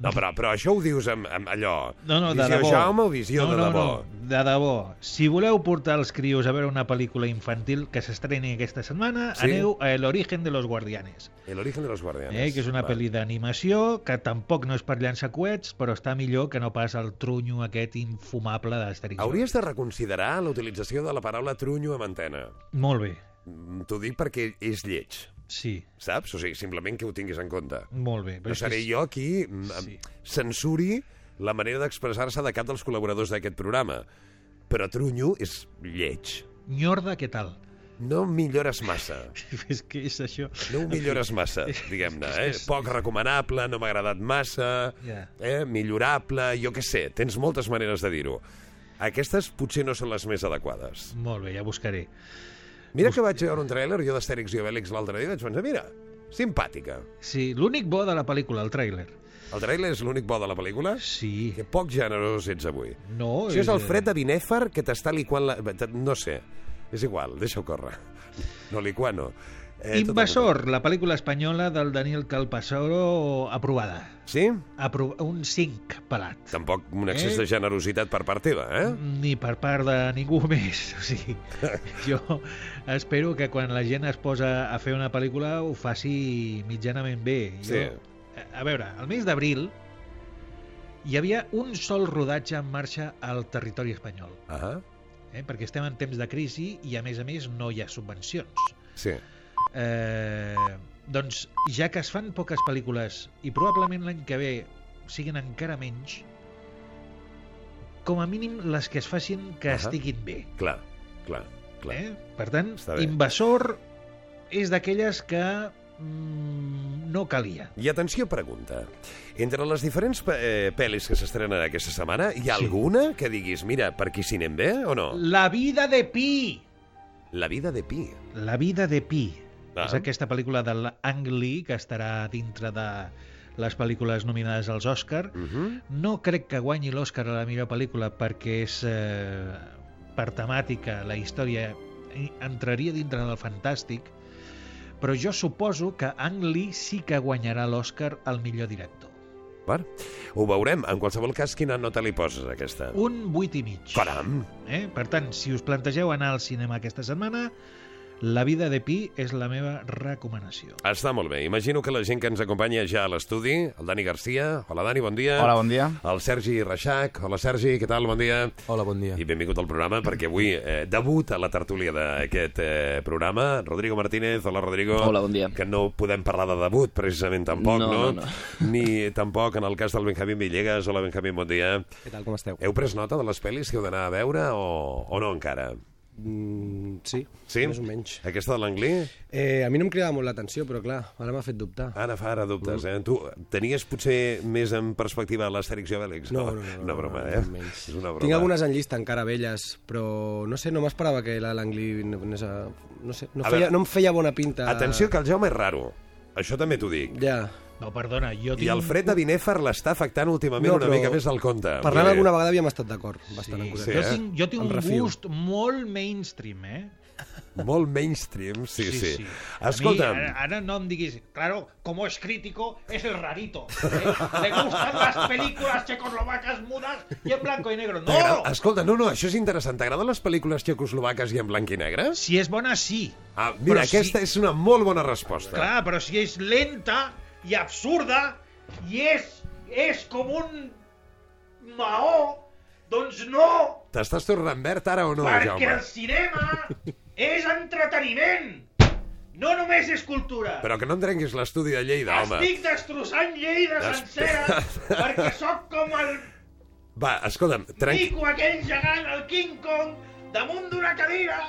[SPEAKER 1] No, però, però això ho dius amb, amb allò...
[SPEAKER 2] No, no, de
[SPEAKER 1] visió
[SPEAKER 2] debò.
[SPEAKER 1] Jaume o visió
[SPEAKER 2] no,
[SPEAKER 1] de
[SPEAKER 2] no,
[SPEAKER 1] debò?
[SPEAKER 2] No, de debò. Si voleu portar els crios a veure una pel·lícula infantil que s'estreni aquesta setmana,
[SPEAKER 1] Sí.
[SPEAKER 2] sí. aneu a El origen de los guardianes,
[SPEAKER 1] El origen de los guardianes.
[SPEAKER 2] eh, que és una
[SPEAKER 1] Va.
[SPEAKER 2] pel·li d'animació que tampoc no és per llançar coets, però està millor que no pas el trunyo aquest infumable d'Asterix.
[SPEAKER 1] Hauries de reconsiderar la utilització de la paraula trunyo amb antena.
[SPEAKER 2] Molt bé,
[SPEAKER 1] Mm, T'ho dic perquè és lleig,
[SPEAKER 2] sí,
[SPEAKER 1] saps? O sigui, simplement que ho tinguis en compte.
[SPEAKER 2] molt bé.
[SPEAKER 1] No
[SPEAKER 2] és que
[SPEAKER 1] seré
[SPEAKER 2] és-
[SPEAKER 1] jo qui mm,
[SPEAKER 2] Sí.
[SPEAKER 1] censuri la manera d'expressar-se de cap dels col·laboradors d'aquest programa. Però trunyo és lleig.
[SPEAKER 2] Nyorda, què tal?
[SPEAKER 1] No millores massa.
[SPEAKER 2] és que és això.
[SPEAKER 1] No ho millores massa, diguem-ne. Eh? Poc recomanable, no m'ha agradat massa,
[SPEAKER 2] Ja.
[SPEAKER 1] eh? millorable, jo què sé. Tens moltes maneres de dir-ho. Aquestes potser no són les més adequades.
[SPEAKER 2] Molt bé, ja buscaré.
[SPEAKER 1] Mira que vaig veure un tràiler jo d'Astèrix i Obèlix l'altre dia i vaig pensar, mira, simpàtica.
[SPEAKER 2] Sí, l'únic bo de la pel·lícula, el tràiler.
[SPEAKER 1] El tràiler és l'únic bo de la pel·lícula?
[SPEAKER 2] Sí.
[SPEAKER 1] Que poc generós ets avui.
[SPEAKER 2] No,
[SPEAKER 1] Això és el
[SPEAKER 2] eh,
[SPEAKER 1] fred de Binèfar que t'està liquant la... No sé, és igual, deixa-ho córrer. No liquano. Eh, tot el
[SPEAKER 2] Invasor, la pel·lícula espanyola del Daniel Calpasoro aprovada.
[SPEAKER 1] contrari. Sí?
[SPEAKER 2] Apro un 5 pelat.
[SPEAKER 1] Tampoc un excés
[SPEAKER 2] Eh? Mm.
[SPEAKER 1] de generositat per part teva, eh?
[SPEAKER 2] Ni per part de ningú més. O sigui, jo espero que quan la gent es posa a fer una pel·lícula ho faci mitjanament bé.
[SPEAKER 1] Sí.
[SPEAKER 2] Jo, a veure, al mes d'abril hi havia un sol rodatge en marxa al territori espanyol,
[SPEAKER 1] Ah,
[SPEAKER 2] eh? perquè estem en temps de crisi i, a més a més, no hi ha subvencions.
[SPEAKER 1] sí.
[SPEAKER 2] Eh, doncs, ja que es fan poques pel·lícules i probablement l'any que ve siguin encara menys, com a mínim les que es facin que uh
[SPEAKER 1] Ahà.
[SPEAKER 2] -huh. estiguin bé.
[SPEAKER 1] Clar, clar, clar.
[SPEAKER 2] Eh? Per tant,
[SPEAKER 1] Està bé.
[SPEAKER 2] Invasor és d'aquelles que mm, no calia.
[SPEAKER 1] I atenció, pregunta. Entre les diferents pe- eh, pel·lis que s'estrenen aquesta setmana, hi ha
[SPEAKER 2] Sí.
[SPEAKER 1] alguna que diguis, mira, per aquí si anem bé o no?
[SPEAKER 2] La vida de Pi!
[SPEAKER 1] La vida de Pi.
[SPEAKER 2] La vida de Pi.
[SPEAKER 1] Ah.
[SPEAKER 2] És aquesta pel·lícula de l'Ang Lee que estarà dintre de les pel·lícules nominades als Oscar.
[SPEAKER 1] Uh -huh.
[SPEAKER 2] No crec que guanyi l'Oscar a la millor pel·lícula perquè és eh, per temàtica, la història i- entraria dintre del fantàstic, però jo suposo que Ang Lee sí que guanyarà l'Oscar al millor director.
[SPEAKER 1] Ho veurem. En qualsevol cas, quina nota li poses, a aquesta?
[SPEAKER 2] Un 8 i mig.
[SPEAKER 1] Caram!
[SPEAKER 2] Eh? Per tant, si us plantegeu anar al cinema aquesta setmana, La vida de Pi és la meva recomanació.
[SPEAKER 1] Està molt bé. Imagino que la gent que ens acompanya ja a l'estudi, el Dani Garcia. Hola, Dani, bon dia.
[SPEAKER 3] Hola, bon dia.
[SPEAKER 1] El Sergi Reixac. Hola, Sergi, què tal? Bon dia.
[SPEAKER 3] Hola, bon dia.
[SPEAKER 1] I benvingut al programa, perquè avui eh, debut a la tertúlia d'aquest eh, programa. Rodrigo Martínez, hola Rodrigo.
[SPEAKER 4] Hola, bon dia.
[SPEAKER 1] Que no podem parlar de debut, precisament, tampoc,
[SPEAKER 4] No,
[SPEAKER 1] no?
[SPEAKER 4] no,
[SPEAKER 1] Ni tampoc en el cas del Benjamín Villegas. Hola, Benjamín, bon dia.
[SPEAKER 5] Què tal, com esteu?
[SPEAKER 1] Heu pres nota de les pel·lis que heu d'anar a veure o, o no encara?
[SPEAKER 5] Mm, sí,
[SPEAKER 1] Sí?
[SPEAKER 5] més o menys.
[SPEAKER 1] Aquesta de l'anglí?
[SPEAKER 5] Eh, a mi no em cridava molt l'atenció, però clar, ara m'ha fet dubtar.
[SPEAKER 1] Ara fa, ara dubtes, eh? Tu tenies potser més en perspectiva l'Astèrix i Obèlix?
[SPEAKER 5] No, no, no, no,
[SPEAKER 1] Una broma,
[SPEAKER 5] no,
[SPEAKER 1] eh?
[SPEAKER 5] ni menys.
[SPEAKER 1] És una broma.
[SPEAKER 5] Tinc algunes en llista encara velles, però no sé, no m'esperava que la de l'Angli anés a... No sé, no,
[SPEAKER 1] A
[SPEAKER 5] feia,
[SPEAKER 1] veure.
[SPEAKER 5] no em feia bona pinta.
[SPEAKER 1] Atenció, que el Jaume és raro. Això també t'ho dic.
[SPEAKER 5] Ja.
[SPEAKER 2] No, perdona, jo tinc...
[SPEAKER 1] I el fred de Binèfar l'està afectant últimament
[SPEAKER 5] No,
[SPEAKER 1] una
[SPEAKER 5] però
[SPEAKER 1] mica més del compte.
[SPEAKER 5] Parlant
[SPEAKER 1] Vull dir,
[SPEAKER 5] alguna vegada havíem estat d'acord, bastant en
[SPEAKER 1] sí,
[SPEAKER 5] coses.
[SPEAKER 2] jo,
[SPEAKER 1] eh?
[SPEAKER 2] tinc, jo tinc
[SPEAKER 5] Em
[SPEAKER 2] un
[SPEAKER 5] refio.
[SPEAKER 2] gust molt mainstream, eh?
[SPEAKER 1] Molt mainstream, sí, sí. sí.
[SPEAKER 2] A
[SPEAKER 1] Escolta'm,
[SPEAKER 2] Mi, eh, ara, ara no em diguis, claro, como es crítico, es el rarito. ¿eh? Le gustan las películas checoslovacas mudas y en blanco y negro.
[SPEAKER 1] t'agrada-
[SPEAKER 2] ¡No!
[SPEAKER 1] Escolta, no, no, això és interessant. T'agraden les pel·lícules txecoslovaques i en blanc i negre?
[SPEAKER 2] Si és bona, sí.
[SPEAKER 1] Ah, mira,
[SPEAKER 2] Però si-
[SPEAKER 1] aquesta és una molt bona resposta.
[SPEAKER 2] Clar, però si és lenta i absurda i és, és com un maó, doncs no,
[SPEAKER 1] T'estàs tornant verd ara o no,
[SPEAKER 2] perquè
[SPEAKER 1] Jaume?
[SPEAKER 2] el cinema és entreteniment, no només és cultura.
[SPEAKER 1] Però que no em trenquis l'estudi de Lleida, home.
[SPEAKER 2] Estic destrossant Lleida
[SPEAKER 1] Des-
[SPEAKER 2] sencera perquè sóc com el
[SPEAKER 1] Va, escolta'm, tranqui...
[SPEAKER 2] mico aquell gegant, el King Kong, damunt d'una cadira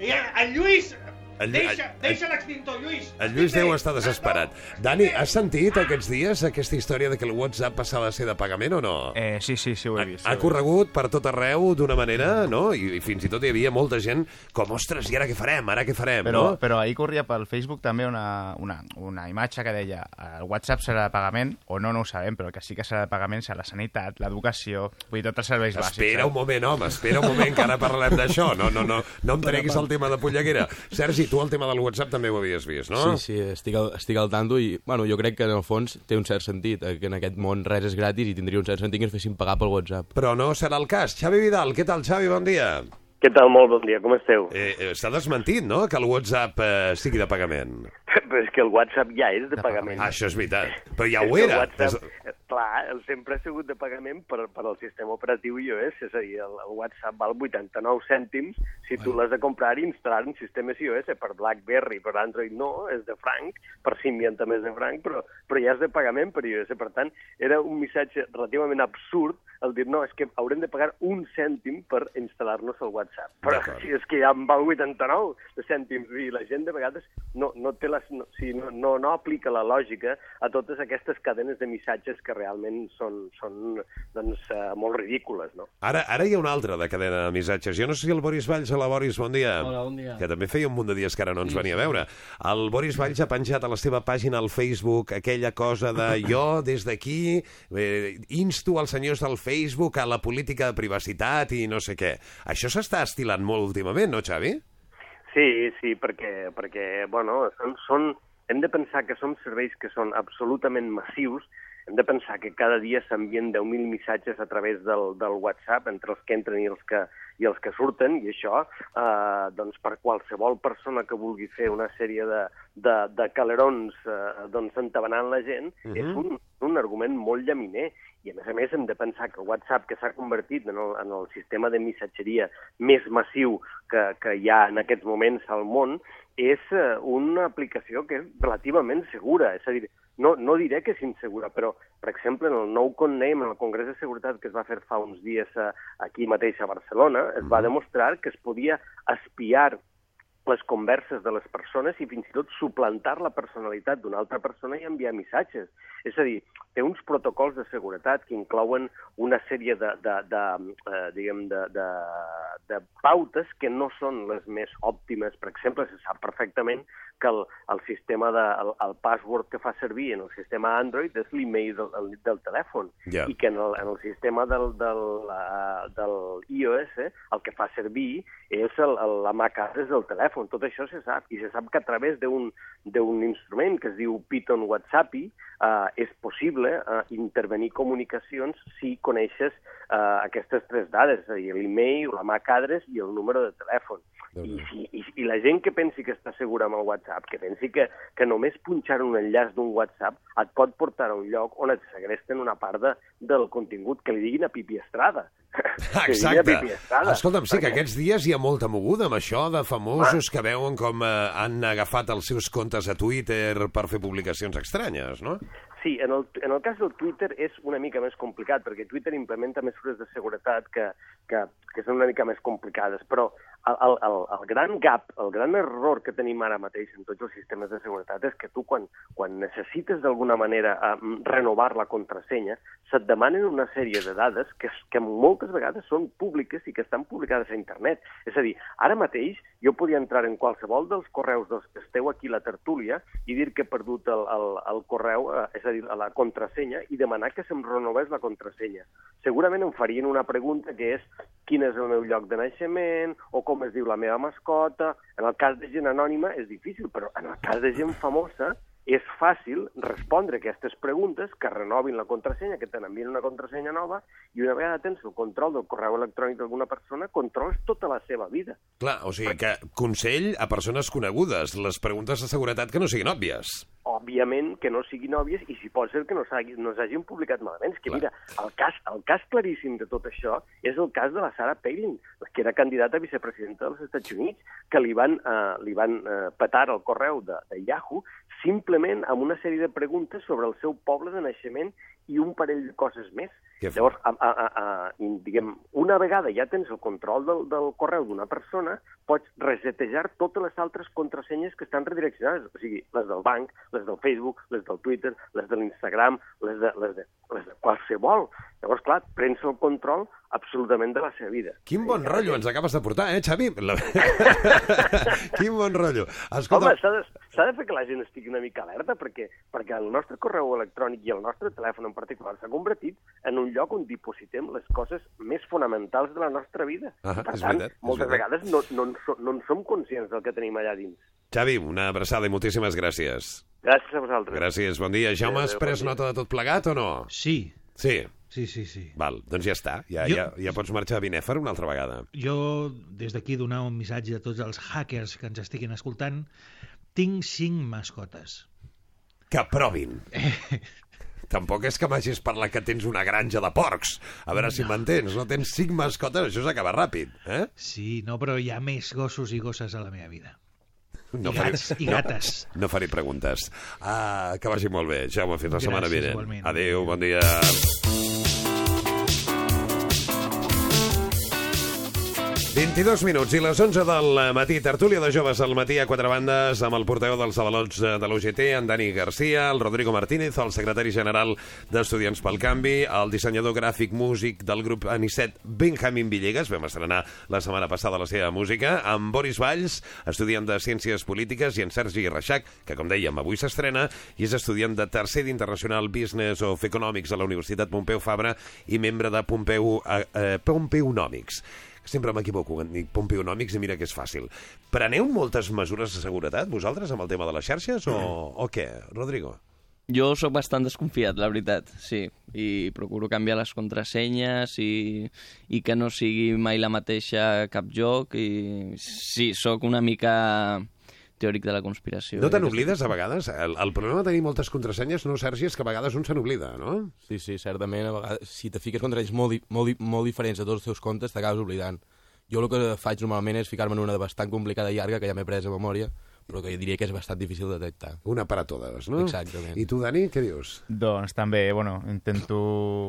[SPEAKER 2] i en, en Lluís...
[SPEAKER 1] El-
[SPEAKER 2] deixa
[SPEAKER 1] el-
[SPEAKER 2] deixa l'extintor, Lluís.
[SPEAKER 1] El Lluís
[SPEAKER 2] Estic
[SPEAKER 1] deu
[SPEAKER 2] bé.
[SPEAKER 1] estar desesperat.
[SPEAKER 2] Estic
[SPEAKER 1] Dani,
[SPEAKER 2] bé.
[SPEAKER 1] has sentit aquests dies aquesta història de que el WhatsApp passava a ser de pagament o no?
[SPEAKER 3] Eh, sí, sí, sí, ho he vist. ho
[SPEAKER 1] Ha
[SPEAKER 3] he vist.
[SPEAKER 1] corregut per tot arreu d'una manera, no? I, I fins i tot hi havia molta gent com, ostres, i ara què farem, ara què farem,
[SPEAKER 3] Però,
[SPEAKER 1] no?
[SPEAKER 3] però ahir corria pel Facebook també una, una, una imatge que deia el WhatsApp serà de pagament o no, no ho sabem, però el que sí que serà de pagament serà la sanitat, l'educació, vull dir, tots els serveis bàsics.
[SPEAKER 1] Espera
[SPEAKER 3] eh?
[SPEAKER 1] un moment, home, espera un moment, que ara parlem d'això. No, no, no, no em treguis el tema de Polleguera. Sergi, tu el tema del WhatsApp també ho havies vist, no?
[SPEAKER 4] Sí, sí, estic al, estic al tanto i bueno, jo crec que en el fons té un cert sentit, eh, que en aquest món res és gratis i tindria un cert sentit que ens fessin pagar pel WhatsApp.
[SPEAKER 1] Però no serà el cas. Xavi Vidal, què tal, Xavi? Bon dia.
[SPEAKER 6] Què tal? Molt bon dia, com esteu? Eh.
[SPEAKER 1] Eh, eh, S'ha desmentit, no?, que el WhatsApp eh, sigui de pagament.
[SPEAKER 6] Però és que el WhatsApp ja és de pagament.
[SPEAKER 1] Ah, això és veritat. Però ja
[SPEAKER 6] És
[SPEAKER 1] ho
[SPEAKER 6] que el
[SPEAKER 1] era.
[SPEAKER 6] WhatsApp, eh, Clar, el sempre ha sigut de pagament per, per al sistema operatiu iOS, és a dir, el, el WhatsApp val 89 cèntims si tu l'has de comprar i instal·lar en sistemes iOS eh, per BlackBerry, per Android no, és de franc, per Symbian també és de franc, però, però ja és de pagament per iOS. Per tant, era un missatge relativament absurd el dir, no, és que haurem de pagar un cèntim per instal·lar-nos el WhatsApp. Però
[SPEAKER 1] D'acord.
[SPEAKER 6] si és que ja en val 89 de cèntims. I la gent de vegades no, no, té les, no, o sigui, no, no, no aplica la lògica a totes aquestes cadenes de missatges que realment són, són doncs, eh, molt ridícules, no?
[SPEAKER 1] Ara, ara hi ha una altra de cadena de missatges. Jo no sé si el Boris Valls, hola Boris, bon dia.
[SPEAKER 7] Hola, bon dia.
[SPEAKER 1] Que també feia un munt de dies que ara no ens venia a veure. El Boris Valls ha penjat a la seva pàgina al Facebook aquella cosa de jo des d'aquí eh, insto als senyors del Facebook a la política de privacitat i no sé què. Això s'està estilant molt últimament, no, Xavi?
[SPEAKER 6] Sí, sí, perquè, perquè bueno, són, són, hem de pensar que són serveis que són absolutament massius, hem de pensar que cada dia s'envien 10.000 missatges a través del, del WhatsApp entre els que entren i els que, i els que surten, i això, eh, doncs per qualsevol persona que vulgui fer una sèrie de, de, de calerons eh, doncs entabanant la gent, uh -huh. és un, un argument molt llaminer. I, a més a més, hem de pensar que el WhatsApp, que s'ha convertit en el, en el sistema de missatgeria més massiu que, que hi ha en aquests moments al món, és eh, una aplicació que és relativament segura. És a dir, no, no diré que és insegura, però, per exemple, en el nou Codename, en el Congrés de Seguretat que es va fer fa uns dies eh, aquí mateix a Barcelona, es va demostrar que es podia espiar les converses de les persones i fins i tot suplantar la personalitat d'una altra persona i enviar missatges. És a dir, té uns protocols de seguretat que inclouen una sèrie de, de, de, eh, diguem, de, de, de pautes que no són les més òptimes. Per exemple, se sap perfectament que el, el sistema de, el, el password que fa servir en el sistema Android és l'email del, del, del telèfon
[SPEAKER 1] Ja.
[SPEAKER 6] i que en el, en el sistema del, del, eh, del iOS eh, el que fa servir és el, el, la mà casa del telèfon. Tot això se sap, i se sap que a través d'un d'un instrument que es diu Python WhatsAppi eh, és possible eh, intervenir comunicacions si coneixes eh, aquestes tres dades, és a dir, l'email, la mà cadres i el número de telèfon. I, i, i, I la gent que pensi que està segura amb el WhatsApp, que pensi que, que només punxar un enllaç d'un WhatsApp et pot portar a un lloc on et segresten una part de, del contingut que li diguin a Pipi Estrada. Que diguin a
[SPEAKER 1] Exacte.
[SPEAKER 6] Pipi Estrada.
[SPEAKER 1] Escolta'm, sí, que
[SPEAKER 6] Perquè-
[SPEAKER 1] aquests dies hi ha molta moguda amb això de famosos que veuen com eh, han agafat els seus comptes a Twitter per fer publicacions estranyes, no?
[SPEAKER 6] Sí, en el, en el cas del Twitter és una mica més complicat, perquè Twitter implementa mesures de seguretat que, que, que són una mica més complicades, però el, el, el, el gran gap, el gran error que tenim ara mateix en tots els sistemes de seguretat és que tu, quan, quan necessites d'alguna manera eh, renovar la contrasenya, se't demanen una sèrie de dades que, que moltes vegades són públiques i que estan publicades a internet. És a dir, ara mateix jo podia entrar en qualsevol dels correus dels que esteu aquí a la tertúlia i dir que he perdut el, el, el correu, eh, és a dir, la contrasenya, i demanar que se'm renovés la contrasenya. Segurament em farien una pregunta que és quin és el meu lloc de naixement o com es diu la meva mascota. En el cas de gent anònima és difícil, però en el cas de gent famosa és fàcil respondre aquestes preguntes que renovin la contrasenya, que te n'envien una contrasenya nova, i una vegada tens el control del correu electrònic d'alguna persona, controles tota la seva vida.
[SPEAKER 1] Clar, o sigui que consell a persones conegudes, les preguntes de seguretat que no siguin òbvies.
[SPEAKER 6] òbviament que no siguin òbvies i si pot ser que no s'hagi- no s'hagin publicat malament. És que, mira, el cas, el cas claríssim de tot això és el cas de la Sarah Palin, que era candidata a vicepresidenta dels Estats Units, que li van, eh, li van eh, petar el correu de, de Yahoo simplement amb una sèrie de preguntes sobre el seu poble de naixement i un parell de coses més.
[SPEAKER 1] Que fort.
[SPEAKER 6] Llavors, a, a, a, a, i, diguem, una vegada ja tens el control del, del correu d'una persona, pots resetejar totes les altres contrasenyes que estan redireccionades, o sigui, les del banc, les del Facebook, les del Twitter, les de l'Instagram, les, de, les, de, les de qualsevol. Llavors, clar, prens el control absolutament de la seva vida.
[SPEAKER 1] Quin bon rotllo ens acabes de portar, eh, Xavi? La... Quin bon rotllo. Escolta,
[SPEAKER 6] Home, s'ha de, s'ha de fer que la gent estigui una mica alerta perquè, perquè el nostre correu electrònic i el nostre telèfon en particular s'ha convertit en un lloc on dipositem les coses més fonamentals de la nostra vida.
[SPEAKER 1] Ah,
[SPEAKER 6] per
[SPEAKER 1] és
[SPEAKER 6] tant,
[SPEAKER 1] veritat, és
[SPEAKER 6] moltes
[SPEAKER 1] veritat.
[SPEAKER 6] vegades no, no, en so, no en som conscients del que tenim allà dins.
[SPEAKER 1] Xavi, una abraçada i moltíssimes gràcies.
[SPEAKER 6] Gràcies a vosaltres.
[SPEAKER 1] Gràcies, bon dia. Jaume, has
[SPEAKER 6] Adéu,
[SPEAKER 1] pres
[SPEAKER 6] bon dia.
[SPEAKER 1] nota de tot plegat o no?
[SPEAKER 2] Sí,
[SPEAKER 1] Sí.
[SPEAKER 2] sí, sí, sí.
[SPEAKER 1] Val, doncs ja està. Ja,
[SPEAKER 2] Jo-
[SPEAKER 1] ja, ja pots marxar a Binèfar una altra vegada.
[SPEAKER 2] Jo, des d'aquí, donar un missatge a tots els hackers que ens estiguin escoltant. Tinc cinc mascotes.
[SPEAKER 1] Que provin. Tampoc és que m'hagis parlat que tens una granja de porcs. A veure si m'entens. No tens cinc mascotes, això s'acaba ràpid. Eh?
[SPEAKER 2] Sí, no, però hi ha més gossos i gosses a la meva vida.
[SPEAKER 1] No
[SPEAKER 2] I gats i gates.
[SPEAKER 1] No faré preguntes. Ah, que vagi molt bé, Jaume. Fins la
[SPEAKER 2] Gràcies,
[SPEAKER 1] setmana vinent.
[SPEAKER 2] igualment.
[SPEAKER 1] Adéu, bon dia. ...22 minuts i les 11 del matí. Tertúlia de joves al matí a quatre bandes amb el portaveu dels avalots eh, de l'UGT, en Dani Garcia, el Rodrigo Martínez, el secretari general d'Estudiants pel Canvi, el dissenyador gràfic músic del grup Aniset, Benjamín Villegas, vam estrenar la setmana passada la seva música, amb Boris Valls, estudiant de Ciències Polítiques, i en Sergi Reixac, que, com dèiem, avui s'estrena i és estudiant de tercer d'International Business of Economics a la Universitat Pompeu Fabra i membre de Pompeu, eh, eh, Pompeunomics. Sempre m'equivoco, quan dic Pompeunomics i mira que és fàcil. Preneu moltes mesures de seguretat, vosaltres, amb el tema de les xarxes o, o què, Rodrigo?
[SPEAKER 7] Jo sóc bastant desconfiat, la veritat, sí. I procuro canviar les contrasenyes i, i que no sigui mai la mateixa a cap joc. I sí, sóc una mica teòric de la conspiració.
[SPEAKER 1] No te
[SPEAKER 7] eh?
[SPEAKER 1] n'oblides a vegades? El, el problema de tenir moltes contrasenyes, no, Sergi, és que a vegades un se n'oblida, no?
[SPEAKER 4] Sí, sí, certament, a vegades, si te fiques contra ells molt, di- molt, di- molt diferents a tots els teus comptes, t'acabes oblidant. Jo el que faig normalment és ficar-me en una bastant complicada i llarga, que ja m'he pres a memòria, però que diria que és bastant difícil de detectar.
[SPEAKER 1] Una per a totes, no?
[SPEAKER 4] Exactament.
[SPEAKER 1] I tu, Dani, què dius?
[SPEAKER 3] Doncs també, bueno, intento...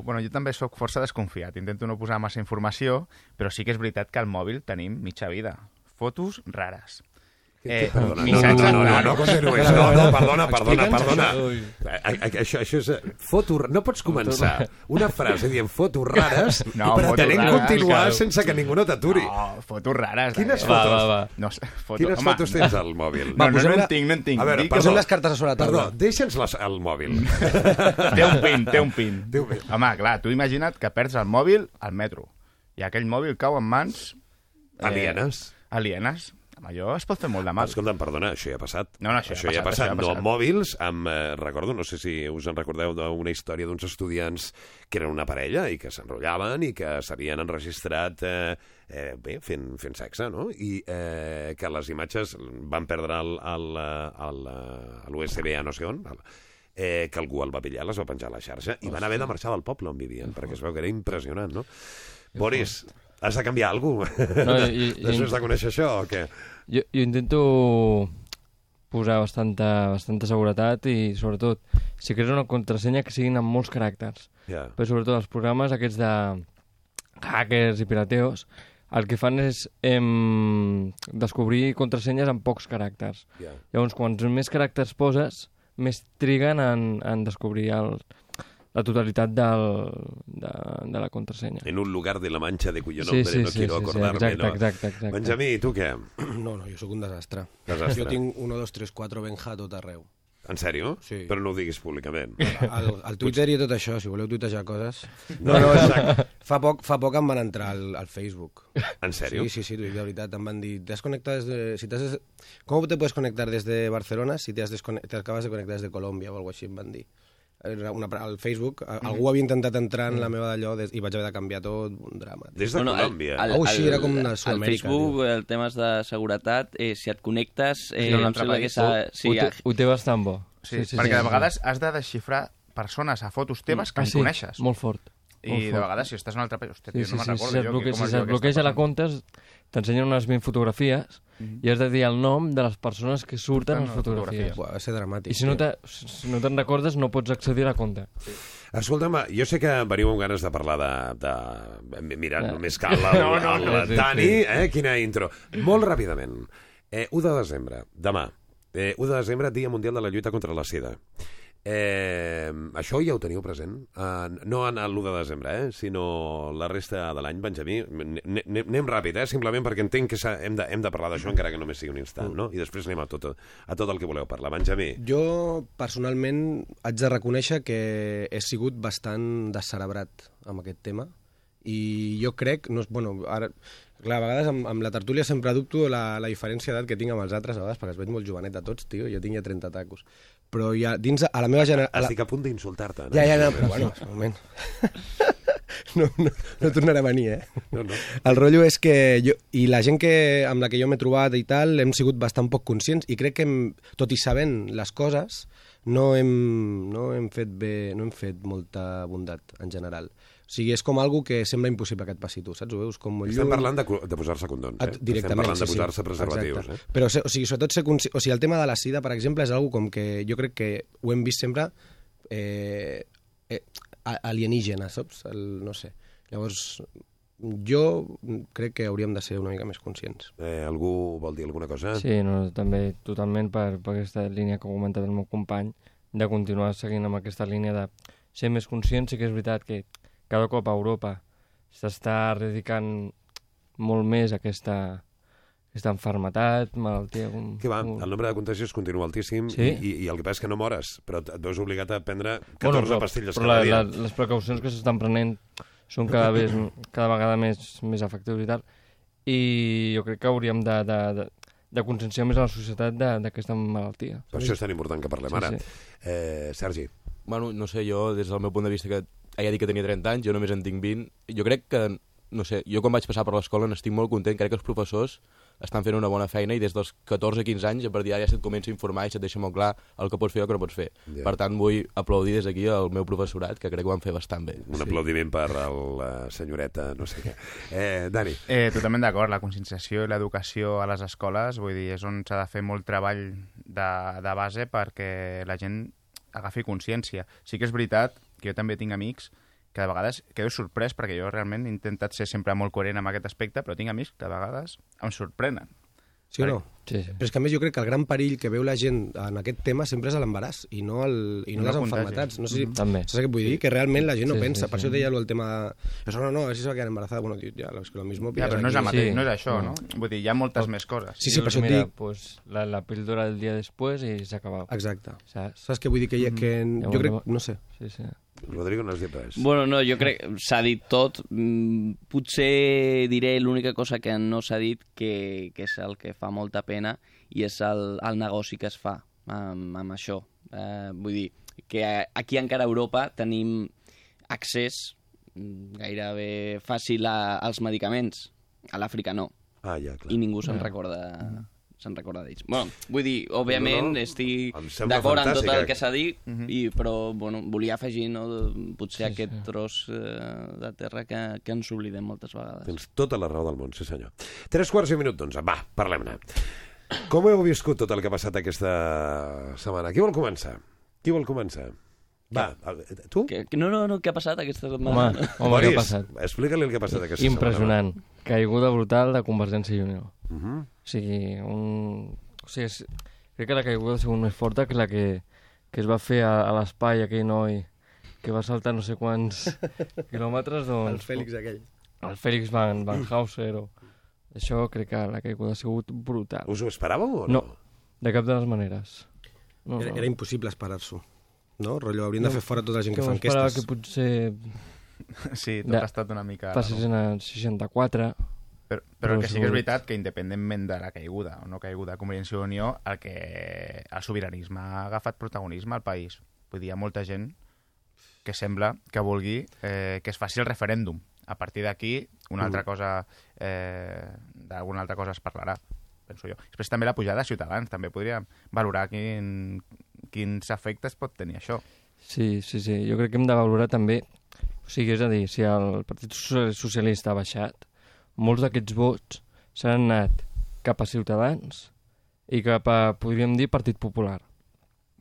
[SPEAKER 3] Bueno, jo també sóc força desconfiat, intento no posar massa informació, però sí que és veritat que al mòbil tenim mitja vida. Fotos rares. Eh,
[SPEAKER 1] Perdona, no, no,
[SPEAKER 3] missatges
[SPEAKER 1] no, no,
[SPEAKER 3] raros.
[SPEAKER 1] no continuïs. No, no, perdona, perdona,
[SPEAKER 5] Explica'ns
[SPEAKER 1] perdona.
[SPEAKER 5] això.
[SPEAKER 1] A- a- Això, això és... eh, Foto... No pots començar una frase dient fotos rares no,
[SPEAKER 3] No, fotos
[SPEAKER 1] pretenent
[SPEAKER 3] rares,
[SPEAKER 1] continuar
[SPEAKER 3] claro.
[SPEAKER 1] sense que ningú no t'aturi.
[SPEAKER 3] No, fotos rares.
[SPEAKER 1] Quines
[SPEAKER 3] eh?
[SPEAKER 1] fotos? Va,
[SPEAKER 5] va, va.
[SPEAKER 3] No, sé, foto,
[SPEAKER 1] Quines
[SPEAKER 3] home,
[SPEAKER 1] fotos tens al mòbil?
[SPEAKER 3] No, no, no en tinc, no en tinc.
[SPEAKER 1] A veure,
[SPEAKER 3] Dic que
[SPEAKER 1] perdó,
[SPEAKER 5] Posem les cartes a sobre la
[SPEAKER 1] Perdó,
[SPEAKER 5] taula.
[SPEAKER 1] deixa'ns les al mòbil.
[SPEAKER 3] Té un pin, té un pin.
[SPEAKER 1] Té un pin.
[SPEAKER 3] Home, clar, tu imagina't que perds el mòbil al metro i aquell mòbil cau en mans... eh,
[SPEAKER 1] Alienes.
[SPEAKER 3] Alienes. Home, allò es pot fer molt de
[SPEAKER 1] Mal.
[SPEAKER 3] mal.
[SPEAKER 1] Escolta'm, perdona, això ja ha passat.
[SPEAKER 3] No, no, això ja ha
[SPEAKER 1] ja
[SPEAKER 3] passat,
[SPEAKER 1] ha passat.
[SPEAKER 3] això ja ha
[SPEAKER 1] No,
[SPEAKER 3] passat.
[SPEAKER 1] amb mòbils, amb, eh, recordo, no sé si us en recordeu d'una història d'uns estudiants que eren una parella i que s'enrotllaven i que s'havien enregistrat eh, eh, bé, fent, fent sexe, no? I eh, que les imatges van perdre el- el, eh, el, eh, a l'USB a no sé on, al- eh, que algú el va pillar, les va penjar a la xarxa i van haver de marxar del poble on vivien, perquè es veu que era impressionant, no? Boris, has de canviar alguna cosa?
[SPEAKER 8] No, i- i-
[SPEAKER 1] Després de conèixer això o què?
[SPEAKER 8] Jo, jo intento posar bastanta, bastanta seguretat i, sobretot, si crees una contrasenya que siguin amb molts caràcters.
[SPEAKER 1] Ja.
[SPEAKER 8] Però, sobretot, els programes aquests de hackers i pirateos el que fan és em, descobrir contrasenyes amb pocs caràcters.
[SPEAKER 4] Ja.
[SPEAKER 8] Llavors, quants més caràcters poses, més triguen en, en descobrir el, la totalitat del, de, de la contrasenya.
[SPEAKER 1] En un lugar de la mancha de cuyo
[SPEAKER 8] Sí,
[SPEAKER 1] nombre
[SPEAKER 8] sí,
[SPEAKER 1] no
[SPEAKER 8] sí, sí,
[SPEAKER 1] quiero
[SPEAKER 8] sí,
[SPEAKER 1] acordarme.
[SPEAKER 8] exacte,
[SPEAKER 1] no?
[SPEAKER 8] exacte, exacte.
[SPEAKER 1] Benjamí, i tu què?
[SPEAKER 5] No, no, jo sóc un desastre.
[SPEAKER 1] Desastre.
[SPEAKER 5] Jo tinc 1, 2, 3, 4 Benja a tot arreu.
[SPEAKER 1] En sèrio?
[SPEAKER 5] Sí.
[SPEAKER 1] Però no ho diguis públicament.
[SPEAKER 5] Al, al Twitter i tot això, si voleu tuitejar coses.
[SPEAKER 1] No, no, exacte.
[SPEAKER 5] Fa poc, fa poc em van entrar al, al Facebook.
[SPEAKER 1] En sèrio?
[SPEAKER 5] Sí, sí, sí, t'ho dic de veritat. Em van dir, "T'has connectat des de... Si t'has des- ¿Cómo te puedes conectar desde Barcelona si te, has descone- te acabas de conectar desde Colòmbia o alguna així?" Em van dir. Era una, al Facebook, a- algú havia intentat entrar en la
[SPEAKER 8] Mm.
[SPEAKER 5] meva d'allò des, i vaig haver de canviar tot, un drama. tio.
[SPEAKER 1] Des de
[SPEAKER 7] Bueno,
[SPEAKER 1] Colòmbia.
[SPEAKER 7] El,
[SPEAKER 5] Oh, sí, era com una
[SPEAKER 7] al
[SPEAKER 5] Sud-amèrica,
[SPEAKER 7] Facebook, el temes de seguretat, eh, si et connectes... Eh,
[SPEAKER 3] Sí, un
[SPEAKER 7] em
[SPEAKER 3] altre
[SPEAKER 7] sembla
[SPEAKER 3] país.
[SPEAKER 7] que s'ha-
[SPEAKER 8] ho,
[SPEAKER 7] Sí,
[SPEAKER 8] té, ho té bastant bo.
[SPEAKER 3] Sí, sí, perquè de vegades has de desxifrar persones a fotos teves que
[SPEAKER 8] Ah,
[SPEAKER 3] en coneixes.
[SPEAKER 8] Molt fort. molt
[SPEAKER 3] I de
[SPEAKER 8] fort.
[SPEAKER 3] vegades, si estàs en un altre país, hòstia,
[SPEAKER 8] Sí,
[SPEAKER 3] tio,
[SPEAKER 8] sí,
[SPEAKER 3] no me'n
[SPEAKER 8] sí, si
[SPEAKER 3] recordo
[SPEAKER 8] et
[SPEAKER 3] jo.
[SPEAKER 8] bloqueja,
[SPEAKER 3] com es
[SPEAKER 8] si
[SPEAKER 3] diu
[SPEAKER 8] et bloqueja
[SPEAKER 3] aquesta
[SPEAKER 8] la compte, t'ensenyen unes 20 fotografies i has de dir el nom de les persones que surten a les
[SPEAKER 3] Mhm. Surten a les
[SPEAKER 8] fotografies.
[SPEAKER 5] Buah, va ser dramàtic.
[SPEAKER 8] I si no
[SPEAKER 5] tio.
[SPEAKER 8] te- si no te'n recordes, no pots accedir a la compte.
[SPEAKER 1] Escolta'm, jo sé que veniu amb ganes de parlar de... de... Mira, no. només cal el,
[SPEAKER 8] Eh. No, no,
[SPEAKER 1] el,
[SPEAKER 8] no, sí,
[SPEAKER 1] Dani,
[SPEAKER 8] sí.
[SPEAKER 1] eh? Quina intro. Molt ràpidament. Eh, 1 de desembre, demà. Eh, 1 de desembre, Dia Mundial de la Lluita contra la Sida. Eh, això ja ho teniu present? Eh, no en l'1 de desembre, eh, sinó la resta de l'any, Benjamí. N- n- Anem ràpid, eh, simplement perquè entenc que s'ha- hem de, hem de parlar d'això encara que només sigui un instant, no? I després anem a tot, a tot el que voleu parlar. Benjamí,
[SPEAKER 5] Jo, personalment, haig de reconèixer que he sigut bastant descerebrat amb aquest tema i jo crec, no, és- bueno, ara, clar, a vegades amb, amb la tertúlia sempre dubto la, la diferència d'edat que tinc amb els altres, a vegades perquè els veig molt jovenet a tots, tio, jo tinc ja 30 tacos. Però ja, dins, a la meva generació...
[SPEAKER 1] estic a punt d'insultar-te. no?
[SPEAKER 5] Ja, ja, no, però bueno, un moment. No, no, no tornarà a venir, eh?
[SPEAKER 1] No, no.
[SPEAKER 5] El rotllo és que jo, i la gent que, amb la que jo m'he trobat i tal, hem sigut bastant poc conscients i crec que, hem, tot i sabent les coses, no hem, no hem fet bé, no hem fet molta bondat en general. O sigui, és com algo que sembla impossible que et passi a tu, saps? Ho veus com molt
[SPEAKER 1] Estem
[SPEAKER 5] lluny.
[SPEAKER 1] parlant de, cu- de posar-se condons, eh?
[SPEAKER 5] Et- directament,
[SPEAKER 1] Estem parlant
[SPEAKER 5] sí,
[SPEAKER 1] de posar-se
[SPEAKER 5] sí.
[SPEAKER 1] preservatius,
[SPEAKER 5] Exacte.
[SPEAKER 1] eh?
[SPEAKER 5] Però, se- o sigui, sobretot, ser consci... o sigui, el tema de la sida, per exemple, és algo com que jo crec que ho hem vist sempre eh, eh, a- alienígena, saps? El, no sé. Llavors, jo crec que hauríem de ser una mica més conscients.
[SPEAKER 1] eh? Algú vol dir alguna cosa?
[SPEAKER 8] Sí, no, també totalment per, per aquesta línia que ha comentat el meu company, de continuar seguint amb aquesta línia de ser més conscient. Sí que és veritat que cada cop a Europa s'està dedicant molt més a aquesta, aquesta enfermetat, malaltia... Com,
[SPEAKER 1] Que va,
[SPEAKER 8] com-
[SPEAKER 1] el nombre de contagis continua altíssim
[SPEAKER 8] Sí.
[SPEAKER 1] i, i, i el que passa és que no mores, però et et veus obligat a prendre 14
[SPEAKER 8] Bueno,
[SPEAKER 1] pastilles
[SPEAKER 8] però
[SPEAKER 1] cada
[SPEAKER 8] la,
[SPEAKER 1] dia.
[SPEAKER 8] la, les precaucions que s'estan prenent són cada, vez, cada vegada més, més efectives i tal, i jo crec que hauríem de, de, de, de conscienciar més a la societat de- d'aquesta malaltia.
[SPEAKER 1] Per això és tan important que parlem
[SPEAKER 8] Sí,
[SPEAKER 1] ara.
[SPEAKER 8] sí.
[SPEAKER 1] Eh, Sergi,
[SPEAKER 4] Bueno, no sé, jo, des del meu punt de vista, que ja he dit que tenia 30 anys, jo només en tinc 20, jo crec que, no sé, jo quan vaig passar per l'escola n'estic molt content, crec que els professors estan fent una bona feina i des dels 14-15 anys a partir d'ara ja se't comença a informar i se't deixa molt clar el que pots fer i el que no pots fer.
[SPEAKER 1] Ja.
[SPEAKER 4] Per tant, vull aplaudir des d'aquí el meu professorat, que crec que ho han fet bastant bé.
[SPEAKER 1] un aplaudiment per a la senyoreta, no sé què. Eh, Dani,
[SPEAKER 3] Eh, totalment d'acord, la conscienciació i l'educació a les escoles, vull dir, és on s'ha de fer molt treball de, de base perquè la gent agafi consciència. Sí que és veritat que jo també tinc amics que de vegades quedo sorprès perquè jo realment he intentat ser sempre molt coherent amb aquest aspecte, però tinc amics que de vegades em sorprenen.
[SPEAKER 5] Sí o no?
[SPEAKER 8] Sí, sí.
[SPEAKER 5] Però és que, a més, jo crec que el gran perill que veu la gent en aquest tema sempre és a l'embaràs i no, el, i no,
[SPEAKER 3] No
[SPEAKER 5] les
[SPEAKER 3] contagis.
[SPEAKER 5] enfermetats. No sé si,
[SPEAKER 8] També.
[SPEAKER 5] Saps què vull dir? Que realment la gent no
[SPEAKER 8] Sí, sí,
[SPEAKER 5] pensa. per
[SPEAKER 8] sí.
[SPEAKER 5] això deia el tema... de- Això, no, no, a ver si se va quedar embarazada. Bueno, tio, ja, és que lo mismo...
[SPEAKER 3] Ja,
[SPEAKER 5] pillas
[SPEAKER 3] però no és,
[SPEAKER 5] aquí.
[SPEAKER 3] el mateix,
[SPEAKER 8] Sí.
[SPEAKER 3] no és això, no? Vull dir, hi ha moltes més coses.
[SPEAKER 5] Sí, sí, per això et
[SPEAKER 8] Mira,
[SPEAKER 5] dic...
[SPEAKER 8] pues, la, la píldora del dia després i s'ha acabat.
[SPEAKER 5] Exacte.
[SPEAKER 8] Saps? Mm.
[SPEAKER 5] Saps què vull dir? Que, hi ha- que en- jo crec...
[SPEAKER 8] Llavors,
[SPEAKER 5] No sé.
[SPEAKER 8] Sí, sí.
[SPEAKER 1] Rodrigo, no has dit res.
[SPEAKER 7] Bueno, no, jo crec s'ha dit tot. Mm, Potser diré l'única cosa que no s'ha dit, que, que és el que fa molta pena, i és el, el negoci que es fa amb, amb això. Eh, vull dir, que eh, aquí encara a Europa tenim accés mm, gairebé fàcil a, als medicaments. A l'Àfrica no,
[SPEAKER 1] Ah, ja,
[SPEAKER 7] i
[SPEAKER 1] clar.
[SPEAKER 7] ningú se'n recorda se'n recorda d'ells. Bueno, vull dir, òbviament,
[SPEAKER 1] No, no,
[SPEAKER 7] estic
[SPEAKER 1] em sembla
[SPEAKER 7] d'acord amb tot
[SPEAKER 1] fantàstic,
[SPEAKER 7] el que
[SPEAKER 1] eh?
[SPEAKER 7] s'ha dit, i, però bueno, volia afegir no, de- potser Mhm. sí, aquest tros eh, de terra que, que ens oblidem moltes vegades.
[SPEAKER 1] Tens tota la raó del món, sí senyor. Tres quarts i minut d'onze. Va, parlem-ne. Com heu viscut tot el que ha passat aquesta setmana? Qui vol començar? Qui vol començar? Va, a veure, tu?
[SPEAKER 7] Que, que, no, no, no, què ha passat aquesta
[SPEAKER 8] Home,
[SPEAKER 7] setmana?
[SPEAKER 8] home, què
[SPEAKER 1] Boris,
[SPEAKER 8] ha passat?
[SPEAKER 1] Explica-li el que ha passat aquesta
[SPEAKER 8] Impressionant. Caiguda brutal de Convergència i Unió.
[SPEAKER 1] setmana.
[SPEAKER 8] O sigui, un... O sigui, és... crec que la caiguda ha sigut més forta que la que, que es va fer a, a l'espai aquell noi que va saltar no sé quants quilòmetres,
[SPEAKER 5] El
[SPEAKER 8] doncs...
[SPEAKER 5] Fèlix aquell.
[SPEAKER 8] El Fèlix Van, Van Hauser o... Això crec que la caiguda ha sigut brutal.
[SPEAKER 1] Us ho esperàveu o no?
[SPEAKER 8] No, de cap de les maneres. No,
[SPEAKER 5] Era,
[SPEAKER 8] no.
[SPEAKER 5] era impossible esperar-s'ho. No? Rotllo, haurien de fer fora tota la gent
[SPEAKER 8] que
[SPEAKER 5] que fa
[SPEAKER 8] m'esperava que
[SPEAKER 5] enquestes.
[SPEAKER 8] potser
[SPEAKER 3] Sí, tot
[SPEAKER 8] De-
[SPEAKER 3] ha estat una mica... raro.
[SPEAKER 8] passessin a 64.
[SPEAKER 3] Però, però el que sí que és
[SPEAKER 8] Resolut.
[SPEAKER 3] veritat que independentment de la caiguda o no caiguda de Convergència i Unió, el, que, el sobiranisme ha agafat protagonisme al país. Vull dir, hi ha molta gent que sembla que vulgui eh, que es faci el referèndum. A partir d'aquí, una altra cosa... Eh, d'alguna altra cosa es parlarà, penso jo. Després també la pujada de Ciutadans, també podríem valorar quin, quins efectes pot tenir això.
[SPEAKER 8] Sí, sí, sí. Jo crec que hem de valorar també... O sigui, és a dir, si el Partit Socia- Socialista ha baixat, molts d'aquests vots s'han anat cap a Ciutadans i cap a, podríem dir, Partit Popular.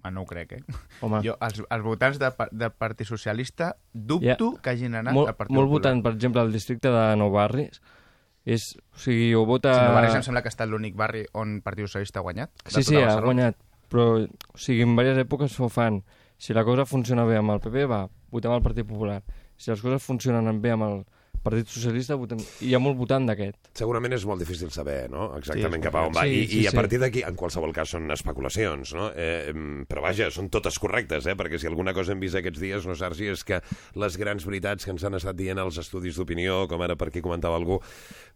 [SPEAKER 3] Ah, no ho crec, eh?
[SPEAKER 8] Home,
[SPEAKER 3] Jo, els, els votants de, pa- del Partit Socialista dubto
[SPEAKER 8] Ja.
[SPEAKER 3] que hagin anat
[SPEAKER 8] molt,
[SPEAKER 3] al Partit
[SPEAKER 8] molt
[SPEAKER 3] Popular.
[SPEAKER 8] votant, per exemple, al districte de Nou Barris, és, o sigui, o vota...
[SPEAKER 3] Si no barreja, em sembla que ha estat l'únic barri on Partit Socialista ha guanyat. de
[SPEAKER 8] Eh, Sí,
[SPEAKER 3] tota
[SPEAKER 8] sí, ha
[SPEAKER 3] Barcelona.
[SPEAKER 8] guanyat, però o sigui, en diverses èpoques ho fan. Si la cosa funciona bé amb el PP, va, votem el Partit Popular. Si les coses funcionen bé amb el Partit Socialista, votem... hi ha molt votant d'aquest.
[SPEAKER 1] Segurament és molt difícil saber no? exactament
[SPEAKER 3] Sí,
[SPEAKER 1] cap a on va.
[SPEAKER 8] sí,
[SPEAKER 1] I,
[SPEAKER 8] sí,
[SPEAKER 1] I a
[SPEAKER 8] sí.
[SPEAKER 1] partir d'aquí, en qualsevol cas, són especulacions, no? Eh, em, però vaja, són totes correctes, eh? perquè si alguna cosa hem vist aquests dies, no, Sergi, és que les grans veritats que ens han estat dient els estudis d'opinió, com ara per aquí comentava algú,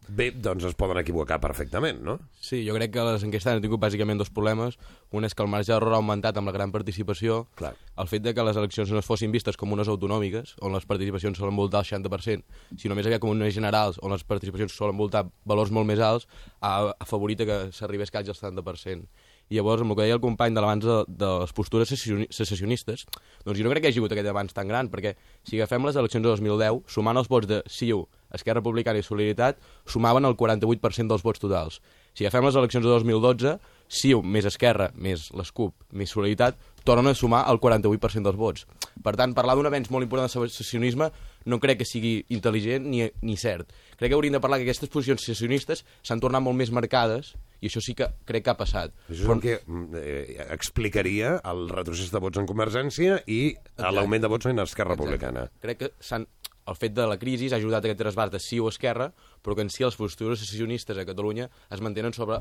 [SPEAKER 1] bé, doncs es poden equivocar perfectament, no?
[SPEAKER 4] Sí, jo crec que les enquestes han tingut bàsicament dos problemes. Un és que el marge d'error ha augmentat amb la gran participació.
[SPEAKER 1] Clar.
[SPEAKER 4] El fet de que les eleccions no es fossin vistes com unes autonòmiques, on les participacions solen voltar el 60%, sinó més aviat com unes generals, on les participacions solen voltar valors molt més alts, ha afavorit a que s'arribés quasi al 70%. I llavors, amb el que deia el company de l'abans de, de les postures secessioni- secessionistes, doncs jo no crec que hi hagi hagut aquest avanç tan gran, perquè si agafem les eleccions de 2010, sumant els vots de CiU, Esquerra Republicana i Solidaritat, sumaven el 48% dels vots totals. Si agafem les eleccions de 2012, CiU més Esquerra més les CUP més Solidaritat tornen a sumar el 48% dels vots. Per tant, parlar d'un avenç molt important de secessionisme no crec que sigui intel·ligent ni, ni cert. Crec que hauríem de parlar que aquestes posicions secessionistes s'han tornat molt més marcades i això sí que crec que ha passat.
[SPEAKER 1] Això és el que mm, eh, explicaria el retrocés de vots en Convergència i l'augment de vots en Esquerra Republicana.
[SPEAKER 4] Crec que s'han- el fet de la crisi ha ajudat a aquest trasbàs de sí o esquerra, però que en si els postures secessionistes a Catalunya es mantenen sobre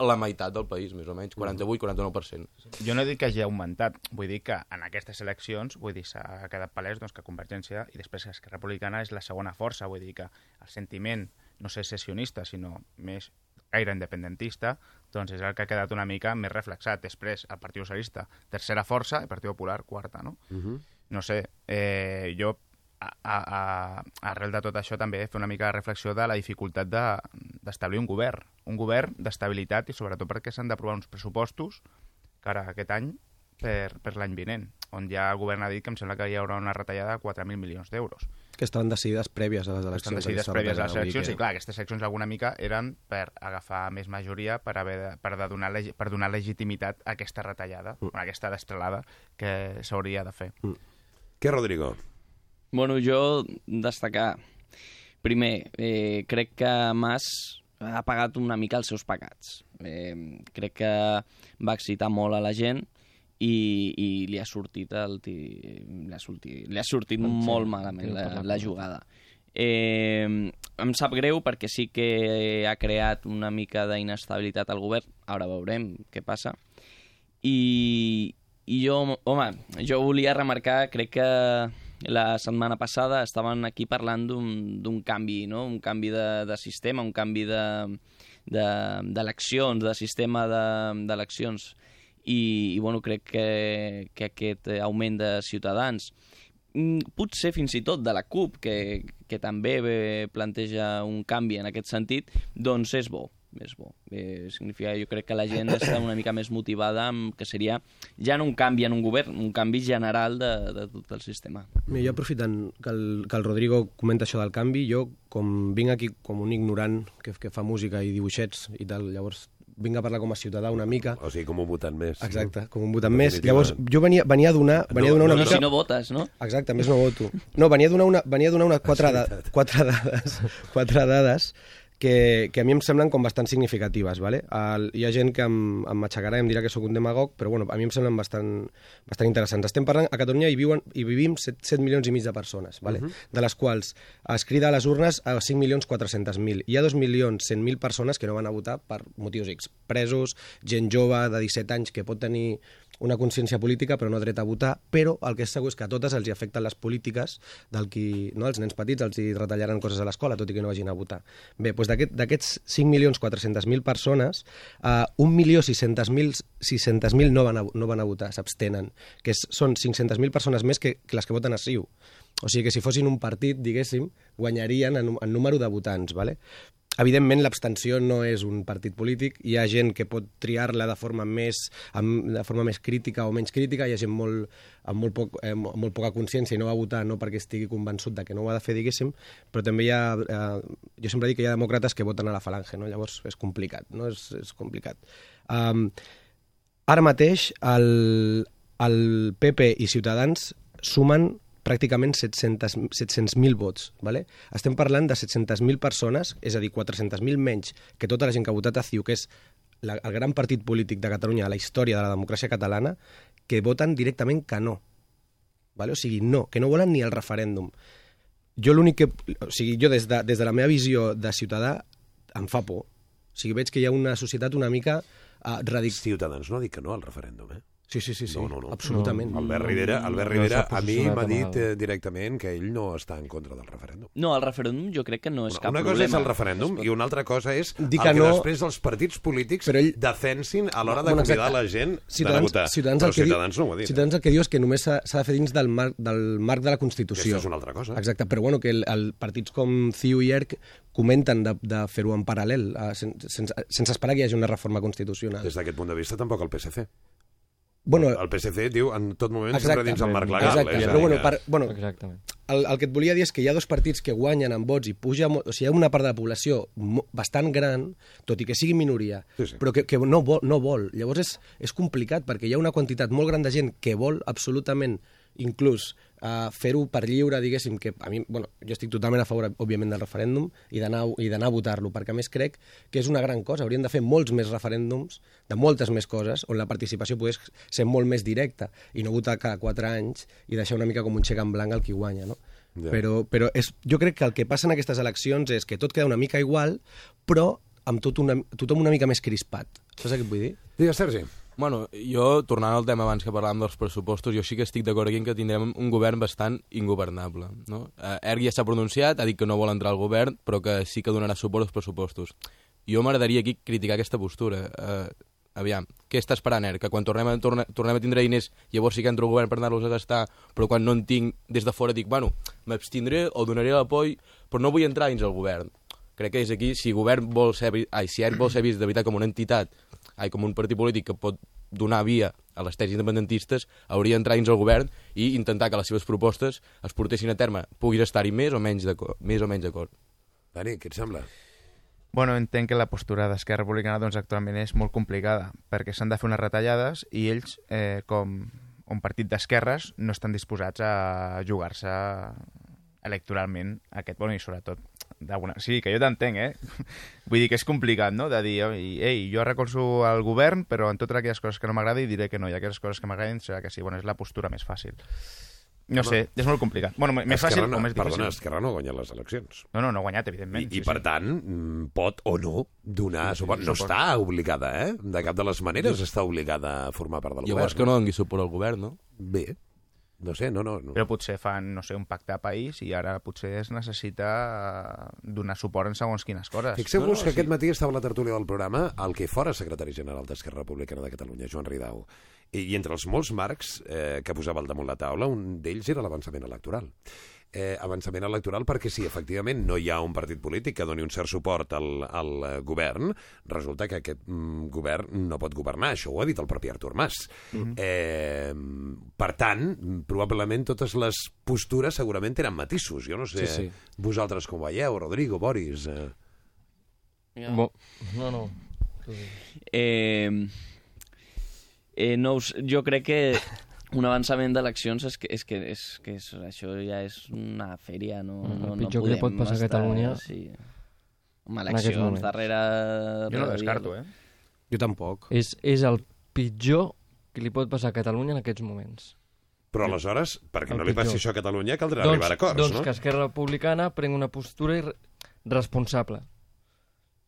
[SPEAKER 4] la meitat del país, més o menys, 48-49%.
[SPEAKER 3] Jo no he dit que hagi augmentat, vull dir que en aquestes eleccions vull dir s'ha quedat palès doncs, que Convergència i després Esquerra Republicana és la segona força, vull dir que el sentiment, no sé, sessionista, sinó més gaire independentista, doncs és el que ha quedat una mica més reflexat. Després, el Partit Socialista, tercera força, i Partit Popular, quarta, no? Uh
[SPEAKER 8] Mhm.
[SPEAKER 3] -huh. No sé, eh, jo a, a, a, arrel de tot això també fer una mica de reflexió de la dificultat de- d'establir de, un govern, un govern d'estabilitat i sobretot perquè s'han d'aprovar uns pressupostos cara aquest any per, per l'any vinent, on ja el govern ha dit que em sembla que hi haurà una retallada de 4.000 milions d'euros.
[SPEAKER 5] Que estaven decidides prèvies a les eleccions.
[SPEAKER 3] Estan decidides
[SPEAKER 5] aquesta
[SPEAKER 3] prèvies a les
[SPEAKER 5] batalla, vull dir
[SPEAKER 3] eleccions
[SPEAKER 5] que-
[SPEAKER 3] i, clar, aquestes eleccions alguna mica eren per agafar més majoria per, haver de, per, de donar, legi- per donar legitimitat a aquesta retallada, a aquesta destralada que s'hauria de fer.
[SPEAKER 1] Què, Rodrigo?
[SPEAKER 7] Bueno, jo destacar. Primer, eh, crec que Mas ha pagat una mica els seus pecats. Eh, crec que va excitar molt a la gent i, i li ha sortit el ti... li ha sortit, li ha sortit
[SPEAKER 8] Sí,
[SPEAKER 7] molt malament
[SPEAKER 8] tio, per
[SPEAKER 7] la,
[SPEAKER 8] la
[SPEAKER 7] la jugada. Eh, em sap greu perquè sí que ha creat una mica d'inestabilitat al govern. Ara veurem què passa. I, i jo, home, jo volia remarcar, crec que la setmana passada estaven aquí parlant d'un d'un canvi, no? un canvi de, de sistema, un canvi de- de- d'eleccions, de, de sistema de- d'eleccions. De, I, I, bueno, crec que, que aquest eh, augment de ciutadans, mm, potser fins i tot de la CUP, que, que també eh, planteja un canvi en aquest sentit, doncs és bo és bo. Eh, significa, jo crec que la gent està una mica més motivada amb que seria ja no un canvi en un govern, un canvi general de, de tot el sistema.
[SPEAKER 8] Mm.
[SPEAKER 5] Mira, jo aprofitant que el, que el Rodrigo comenta això del canvi, jo com vinc aquí com un ignorant que, que fa música i dibuixets i tal, llavors vinc a parlar com a ciutadà una mica.
[SPEAKER 1] O sigui, com ho voten més.
[SPEAKER 5] Exacte, com un votant més.
[SPEAKER 1] Definitiva.
[SPEAKER 5] Llavors, jo venia, venia a donar, venia a donar una
[SPEAKER 7] No,
[SPEAKER 5] mica...
[SPEAKER 7] si no votes, no?
[SPEAKER 5] Exacte, més no voto. No, venia a donar, una, venia a donar una, quatre, da, quatre dades, quatre dades que, que a mi em semblen com bastant significatives. Vale? El, hi ha gent que em, em matxacarà i em dirà que sóc un demagog, però bueno, a mi em semblen bastant, bastant interessants. Estem parlant, a Catalunya hi, viuen, hi vivim 7, 7 milions i mig de persones, vale? uh -huh. de les quals es crida a les urnes a 5 milions 400.000. Hi ha 2 milions 100.000 persones que no van a votar per motius X. Presos, gent jove de 17 anys que pot tenir una consciència política però no dret a votar, però el que és segur és que a totes els hi afecten les polítiques del qui, no, els nens petits els hi retallaran coses a l'escola, tot i que no vagin a votar. Bé, doncs d'aquest- d'aquests 5.400.000 persones, eh, 1.600.000 600.000 no, van a, no van a votar, s'abstenen, que és, són 500.000 persones més que, que les que voten a CiU. O sigui que si fossin un partit, diguéssim, guanyarien en, en número de votants, ¿vale? Evidentment, l'abstenció no és un partit polític. Hi ha gent que pot triar-la de forma més amb, de forma més crítica o menys crítica. Hi ha gent molt, amb, molt poc, eh, amb molt poca consciència i no va votar no perquè estigui convençut de que no ho ha de fer, diguéssim, però també hi ha... Eh, jo sempre dic que hi ha demòcrates que voten a la falange, no? llavors és complicat, no? és, és complicat. Um, ara mateix el, el PP i Ciutadans sumen pràcticament 700 700.000 vots. Vale? Estem parlant de 700.000 persones, és a dir, 400.000 menys que tota la gent que ha votat a CiU, que és la, el gran partit polític de Catalunya a la història de la democràcia catalana, que voten directament que no. Vale? O sigui, no, que no volen ni el referèndum. Jo l'únic que... O sigui, jo des de, des de la meva visió de ciutadà em fa por. O sigui, veig que hi ha una societat una mica uh, radic...
[SPEAKER 1] Ciutadans no dic que no al referèndum, eh?
[SPEAKER 5] Sí, sí, sí, sí.
[SPEAKER 1] No, no, no.
[SPEAKER 5] absolutament.
[SPEAKER 8] No.
[SPEAKER 1] Albert Rivera, Albert
[SPEAKER 8] No
[SPEAKER 1] Rivera
[SPEAKER 8] s'ha
[SPEAKER 1] a mi
[SPEAKER 8] posicionat
[SPEAKER 1] m'ha
[SPEAKER 8] amb
[SPEAKER 1] dit
[SPEAKER 8] el-
[SPEAKER 1] eh, directament que ell no està en contra del referèndum.
[SPEAKER 7] No, el referèndum jo crec que no és
[SPEAKER 1] Una,
[SPEAKER 7] cap
[SPEAKER 1] una cosa
[SPEAKER 7] problema.
[SPEAKER 1] és el referèndum i una altra cosa és
[SPEAKER 5] Dir que
[SPEAKER 1] el que
[SPEAKER 5] no-
[SPEAKER 1] després els partits polítics
[SPEAKER 5] Però ell-
[SPEAKER 1] defensin a l'hora de
[SPEAKER 5] Bueno,
[SPEAKER 1] convidar
[SPEAKER 5] exacte.
[SPEAKER 1] la gent d'anar a
[SPEAKER 5] Ciutadans,
[SPEAKER 1] votar.
[SPEAKER 5] Ciutadans,
[SPEAKER 1] Però
[SPEAKER 5] el que
[SPEAKER 1] Ciutadans
[SPEAKER 5] diu,
[SPEAKER 1] no ho ha dit. eh.
[SPEAKER 5] Ciutadans el que diu és que només s'ha s'ha de fer dins del marc, del marc de la Constitució.
[SPEAKER 1] Aquesta és una altra cosa.
[SPEAKER 5] Exacte, però bueno, que el, el partits com CiU i ERC comenten de, de fer-ho en paral·lel, eh, sen, sense, sense esperar que hi hagi una reforma constitucional.
[SPEAKER 1] Des d'aquest punt de vista, tampoc el PSC.
[SPEAKER 5] Bueno,
[SPEAKER 1] El PSC diu en tot moment
[SPEAKER 5] Exacte.
[SPEAKER 1] sempre dins el marc legal.
[SPEAKER 5] exacte,
[SPEAKER 1] eh? És a
[SPEAKER 5] però
[SPEAKER 1] dir
[SPEAKER 5] bueno,
[SPEAKER 1] que-
[SPEAKER 5] per, bueno,
[SPEAKER 8] Exactament.
[SPEAKER 5] el, el que et volia dir és que hi ha dos partits que guanyen en vots i puja... mo- O sigui, hi ha una part de la població mo- bastant gran, tot i que sigui minoria,
[SPEAKER 1] Sí, sí.
[SPEAKER 5] però que, que no, vol, no vol. Llavors és, és complicat perquè hi ha una quantitat molt gran de gent que vol absolutament inclús uh, fer-ho per lliure, diguéssim, que a mi, bueno, jo estic totalment a favor, òbviament, del referèndum i d'anar i d'anar a votar-lo, perquè a més crec que és una gran cosa. Haurien de fer molts més referèndums de moltes més coses on la participació podés ser molt més directa i no votar cada quatre anys i deixar una mica com un xec en blanc al qui guanya, no?
[SPEAKER 1] Ja.
[SPEAKER 5] Yeah. Però, però és, jo crec que el que passa en aquestes eleccions és que tot queda una mica igual, però amb tot una, tothom una mica més crispat. Saps què et vull dir?
[SPEAKER 1] Digues, Sergi.
[SPEAKER 4] Bueno, jo, tornant al tema abans que parlàvem dels pressupostos, jo sí que estic d'acord aquí en que tindrem un govern bastant ingovernable. No? Eh, Erg ja s'ha pronunciat, ha dit que no vol entrar al govern, però que sí que donarà suport als pressupostos. Jo m'agradaria aquí criticar aquesta postura. Eh, aviam, què està esperant Erg? Que quan tornem a, torne, tornem a tindre diners, llavors sí que entro al govern per anar-los a gastar, però quan no en tinc, des de fora dic, bueno, m'abstindré o donaré l'apoi, però no vull entrar dins el govern. Crec que és aquí, si govern vol ser, vi- ai, si ERC vol ser vist de veritat com una entitat, ai, com un partit polític que pot donar via a les tesis independentistes, hauria d'entrar dins el govern i intentar que les seves propostes es portessin a terme. Puguis estar-hi més o menys d'acord. Més o menys d'acord.
[SPEAKER 1] Dani, què et sembla?
[SPEAKER 3] Bueno, entenc que la postura d'Esquerra Republicana doncs, actualment és molt complicada, perquè s'han de fer unes retallades i ells, eh, com un partit d'esquerres, no estan disposats a jugar-se electoralment aquest bon i sobretot d'alguna... Sí, que jo t'entenc, eh? Vull dir que és complicat, no?, de dir, oi, ei, jo recolzo el govern, però en totes aquelles coses que no m'agradi diré que no, i aquelles coses que m'agradin serà que sí. Bueno, és la postura més fàcil. No sé, és molt complicat. Bueno, més fàcil
[SPEAKER 1] Esquerra no,
[SPEAKER 3] o més difícil.
[SPEAKER 1] Perdona, Esquerra no guanya les eleccions.
[SPEAKER 3] No, no, no ha guanyat,
[SPEAKER 1] I,
[SPEAKER 3] evidentment.
[SPEAKER 1] i per tant, mm, pot o no donar
[SPEAKER 3] Sí, sí,
[SPEAKER 1] suport. No
[SPEAKER 3] suport.
[SPEAKER 1] està obligada, eh? De cap de les maneres està obligada a formar part del
[SPEAKER 4] Llavors
[SPEAKER 1] govern.
[SPEAKER 4] que no doni suport al govern, no?
[SPEAKER 1] Bé, no sé, no, no. no.
[SPEAKER 3] Però potser fan, no sé, un pacte a país i ara potser es necessita eh, donar suport en segons quines coses.
[SPEAKER 1] Fixeu-vos que aquest matí estava a la tertúlia del programa el que fora secretari general d'Esquerra Republicana de Catalunya, Joan Ridau. I, i entre els molts marcs eh, que posava al damunt la taula, un d'ells era l'avançament electoral. Eh, avançament electoral perquè si efectivament no hi ha un partit polític que doni un cert suport al, al eh, govern, resulta que aquest mm, govern no pot governar, això ho ha dit el propi Artur Mas. Mm -hmm. eh, per tant, probablement totes les postures segurament tenen matisos, jo no sé
[SPEAKER 4] Sí, sí.
[SPEAKER 1] vosaltres com ho veieu, Rodrigo, Boris... Eh...
[SPEAKER 7] Ja.
[SPEAKER 8] Bo... No, no.
[SPEAKER 7] Eh, eh, no us, jo crec que un avançament d'eleccions és que, és que, és que és, això ja és una fèria. No,
[SPEAKER 8] Mm, el
[SPEAKER 7] no, no
[SPEAKER 8] pitjor que li pot
[SPEAKER 7] podem
[SPEAKER 8] passar a
[SPEAKER 7] estar,
[SPEAKER 8] Catalunya
[SPEAKER 7] Sí. Home,
[SPEAKER 8] en aquests
[SPEAKER 7] eleccions
[SPEAKER 8] moments.
[SPEAKER 7] darrere...
[SPEAKER 3] Jo no ho descarto, eh?
[SPEAKER 5] Jo tampoc.
[SPEAKER 8] És, és el pitjor que li pot passar a Catalunya en aquests moments.
[SPEAKER 1] Però aleshores, perquè
[SPEAKER 8] El
[SPEAKER 1] no li passi
[SPEAKER 8] pitjor.
[SPEAKER 1] això a Catalunya, caldrà arribar a acords,
[SPEAKER 8] doncs
[SPEAKER 1] no?
[SPEAKER 8] que Esquerra Republicana prengui una postura ir- responsable.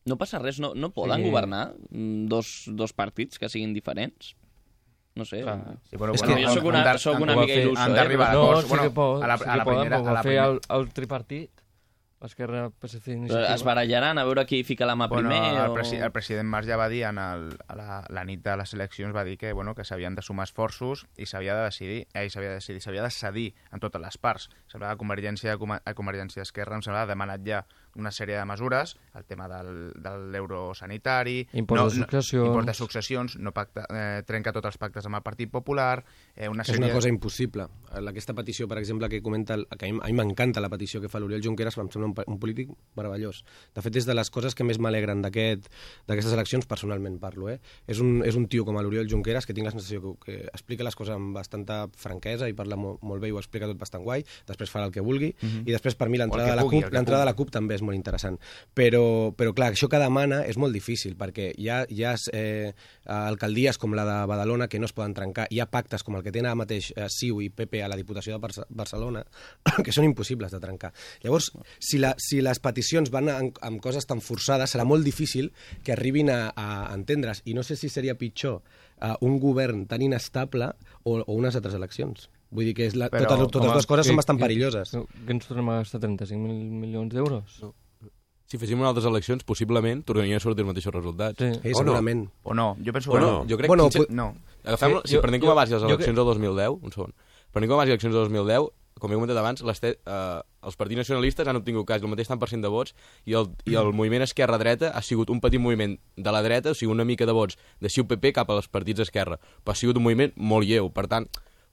[SPEAKER 7] No passa res, no, no poden
[SPEAKER 8] Sí.
[SPEAKER 7] sí. governar mm, dos, dos partits que siguin diferents? No sé.
[SPEAKER 8] Clar.
[SPEAKER 3] Sí, bueno,
[SPEAKER 7] És que jo sóc una-
[SPEAKER 3] han de-
[SPEAKER 7] sóc
[SPEAKER 3] han
[SPEAKER 7] una
[SPEAKER 3] de
[SPEAKER 7] mica
[SPEAKER 3] fer-
[SPEAKER 7] il·lusa,
[SPEAKER 3] Han
[SPEAKER 7] eh?
[SPEAKER 3] d'arribar a
[SPEAKER 8] no,
[SPEAKER 3] acords.
[SPEAKER 8] sí
[SPEAKER 3] Bueno,
[SPEAKER 8] que pot,
[SPEAKER 3] a la,
[SPEAKER 8] sí
[SPEAKER 3] a la
[SPEAKER 8] que poden,
[SPEAKER 3] primera...
[SPEAKER 8] però
[SPEAKER 3] a la
[SPEAKER 8] fer
[SPEAKER 3] primera-
[SPEAKER 8] el, el tripartit, Esquerra, PSC, Iniciativa...
[SPEAKER 7] Eh, Es barallaran a veure qui fica la mà
[SPEAKER 3] Bueno,
[SPEAKER 7] primer
[SPEAKER 3] el,
[SPEAKER 7] o...
[SPEAKER 3] presi el president Mas ja va dir en el, a la, la nit de les eleccions va dir que, bueno, que s'havien de sumar esforços i s'havia de decidir, eh, i s'havia de decidir, s'havia de cedir en totes les parts. Semblava que Convergència, Coma- a Convergència Esquerra em semblava demanat ja una sèrie de mesures, el tema del, de l'euro sanitari...
[SPEAKER 8] Impost de successions.
[SPEAKER 3] No, impost de successions, no pacta, eh, trenca tots els pactes amb el Partit Popular... Eh, una
[SPEAKER 5] Que és
[SPEAKER 3] sèrie...
[SPEAKER 5] una cosa impossible. Eh, Aquesta petició, per exemple, que comenta... El, que a mi- a mi m'encanta la petició que fa l'Oriol Junqueras, em sembla un, pa- un polític meravellós. De fet, és de les coses que més m'alegren d'aquest- d'aquestes eleccions, personalment parlo. Eh? És, un, és un tio com l'Oriol Junqueras que tinc la sensació que, que explica les coses amb bastanta franquesa i parla molt, molt bé i ho explica tot bastant guai, després farà el que vulgui, i després per mi
[SPEAKER 3] Mhm. O el
[SPEAKER 5] l'entrada
[SPEAKER 3] que
[SPEAKER 5] de la
[SPEAKER 3] pugui,
[SPEAKER 5] CUP,
[SPEAKER 3] el que
[SPEAKER 5] l'entrada
[SPEAKER 3] pugui.
[SPEAKER 5] de la CUP també és molt interessant. Però, però clar, això que demana és molt difícil, perquè hi ha, hi ha eh, alcaldies com la de Badalona que no es poden trencar, hi ha pactes com el que tenen ara mateix eh, CiU i PP a la Diputació de Barce- Barcelona que són impossibles de trencar. Llavors, si, la, si les peticions van en, amb coses tan forçades, serà molt difícil que arribin a, a entendre's. I no sé si seria pitjor eh, un govern tan inestable o, o unes altres eleccions. Vull dir que és la,
[SPEAKER 3] Però,
[SPEAKER 5] totes, totes
[SPEAKER 3] home,
[SPEAKER 5] dues coses són
[SPEAKER 8] que-
[SPEAKER 5] bastant
[SPEAKER 8] que-
[SPEAKER 5] perilloses.
[SPEAKER 8] Que ens tornem a gastar 35.000 milions d'euros?
[SPEAKER 4] Si féssim unes altres eleccions, possiblement tornaria a sortir els mateixos resultats.
[SPEAKER 8] Sí.
[SPEAKER 5] Sí,
[SPEAKER 1] no.
[SPEAKER 5] Eh, segurament.
[SPEAKER 3] O no, jo penso
[SPEAKER 4] O
[SPEAKER 3] que
[SPEAKER 4] no,
[SPEAKER 3] no.
[SPEAKER 4] jo crec
[SPEAKER 5] Bueno,
[SPEAKER 4] que...
[SPEAKER 5] pot-
[SPEAKER 3] No,
[SPEAKER 4] Agafem,
[SPEAKER 8] Sí,
[SPEAKER 4] sí, si
[SPEAKER 8] jo-
[SPEAKER 4] prenem
[SPEAKER 8] jo-
[SPEAKER 4] com a base les
[SPEAKER 8] jo
[SPEAKER 4] eleccions del 2010, un segon, prenem com a base les eleccions del 2010, com he comentat abans, les te, eh, els partits nacionalistes han obtingut quasi el mateix tant per cent de vots i el, i el moviment esquerra-dreta ha sigut un petit moviment de la dreta, o sigui, una mica de vots de CiU-PP cap als partits d'esquerra, però ha sigut un moviment molt lleu. Per tant,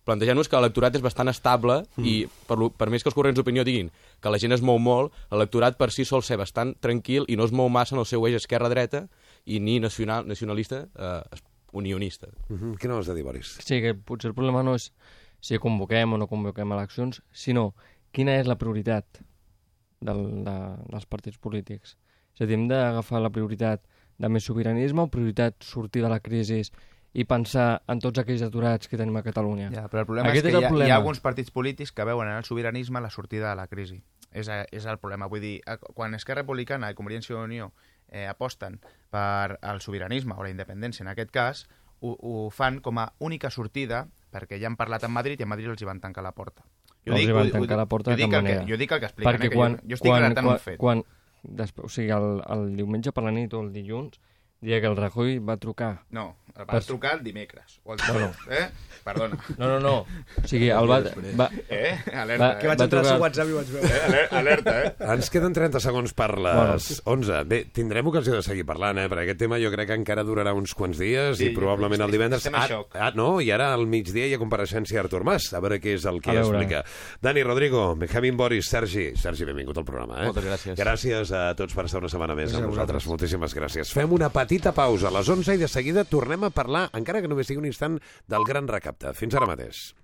[SPEAKER 4] plantejar-nos que l'electorat és bastant estable mm. i per, lo- per més que els corrents d'opinió diguin que la gent es mou molt, l'electorat per si sol ser bastant tranquil i no es mou massa en el seu eix esquerra-dreta i ni nacional, nacionalista eh, es- unionista.
[SPEAKER 1] Mhm, Què no has de dir, Boris?
[SPEAKER 8] Sí, que potser el problema no és si convoquem o no convoquem eleccions, sinó quina és la prioritat del, de, dels partits polítics. És a dir, hem d'agafar la prioritat de més sobiranisme o prioritat sortir de la crisi i pensar en tots aquells aturats que tenim a Catalunya.
[SPEAKER 3] Ja, però el problema
[SPEAKER 8] Aquest
[SPEAKER 3] és
[SPEAKER 8] és
[SPEAKER 3] que
[SPEAKER 8] el
[SPEAKER 3] hi ha, hi
[SPEAKER 8] problema.
[SPEAKER 3] ha alguns partits polítics que veuen en el sobiranisme la sortida de la crisi. És, eh, és el problema. Vull dir, eh, quan Esquerra Republicana i Convergència i Unió eh, aposten per al sobiranisme o la independència, en aquest cas, ho, ho fan com a única sortida perquè ja han parlat amb Madrid i a Madrid els hi van tancar la porta.
[SPEAKER 8] No els hi van tancar la porta
[SPEAKER 3] jo
[SPEAKER 8] de
[SPEAKER 3] dic
[SPEAKER 8] cap
[SPEAKER 3] el que,
[SPEAKER 8] manera.
[SPEAKER 3] jo dic el que expliquen, eh,
[SPEAKER 8] Perquè
[SPEAKER 3] que
[SPEAKER 8] quan,
[SPEAKER 3] jo, jo estic
[SPEAKER 8] quan,
[SPEAKER 3] relatant
[SPEAKER 8] quan,
[SPEAKER 3] un fet.
[SPEAKER 8] Quan, després, o sigui, el, el diumenge per la nit o el dilluns, dia que el Rajoy va trucar.
[SPEAKER 3] No, el
[SPEAKER 8] Per-
[SPEAKER 3] vas trucar el dimecres. O el dilluns, eh? Perdona.
[SPEAKER 8] No, no, no. O sigui, el va... va
[SPEAKER 3] Eh?
[SPEAKER 8] Va-
[SPEAKER 3] Alerta, eh?
[SPEAKER 8] vaig entrar al seu
[SPEAKER 5] WhatsApp i vaig veure.
[SPEAKER 3] eh? aler- Alerta, eh?
[SPEAKER 1] Ens queden 30 segons per les 11. Bé, tindrem ocasió de seguir parlant, eh? Perquè aquest tema jo crec que encara durarà uns quants dies
[SPEAKER 3] Sí,
[SPEAKER 1] i probablement el divendres...
[SPEAKER 3] estem a xoc.
[SPEAKER 1] ah, no, i ara al migdia hi ha compareixència Artur Mas. A veure què és el que
[SPEAKER 8] A veure.
[SPEAKER 1] explica. Dani, Rodrigo, Benjamín Boris, Sergi. Sergi, benvingut al programa, eh?
[SPEAKER 4] Moltes gràcies.
[SPEAKER 1] Gràcies a tots per estar una setmana més
[SPEAKER 5] Gràcies a
[SPEAKER 1] amb nosaltres.
[SPEAKER 5] vosaltres.
[SPEAKER 1] Moltíssimes gràcies. Fem una petita pausa a les 11 i de seguida tornem a parlar, encara que només sigui un instant, del gran recapte. Fins ara mateix.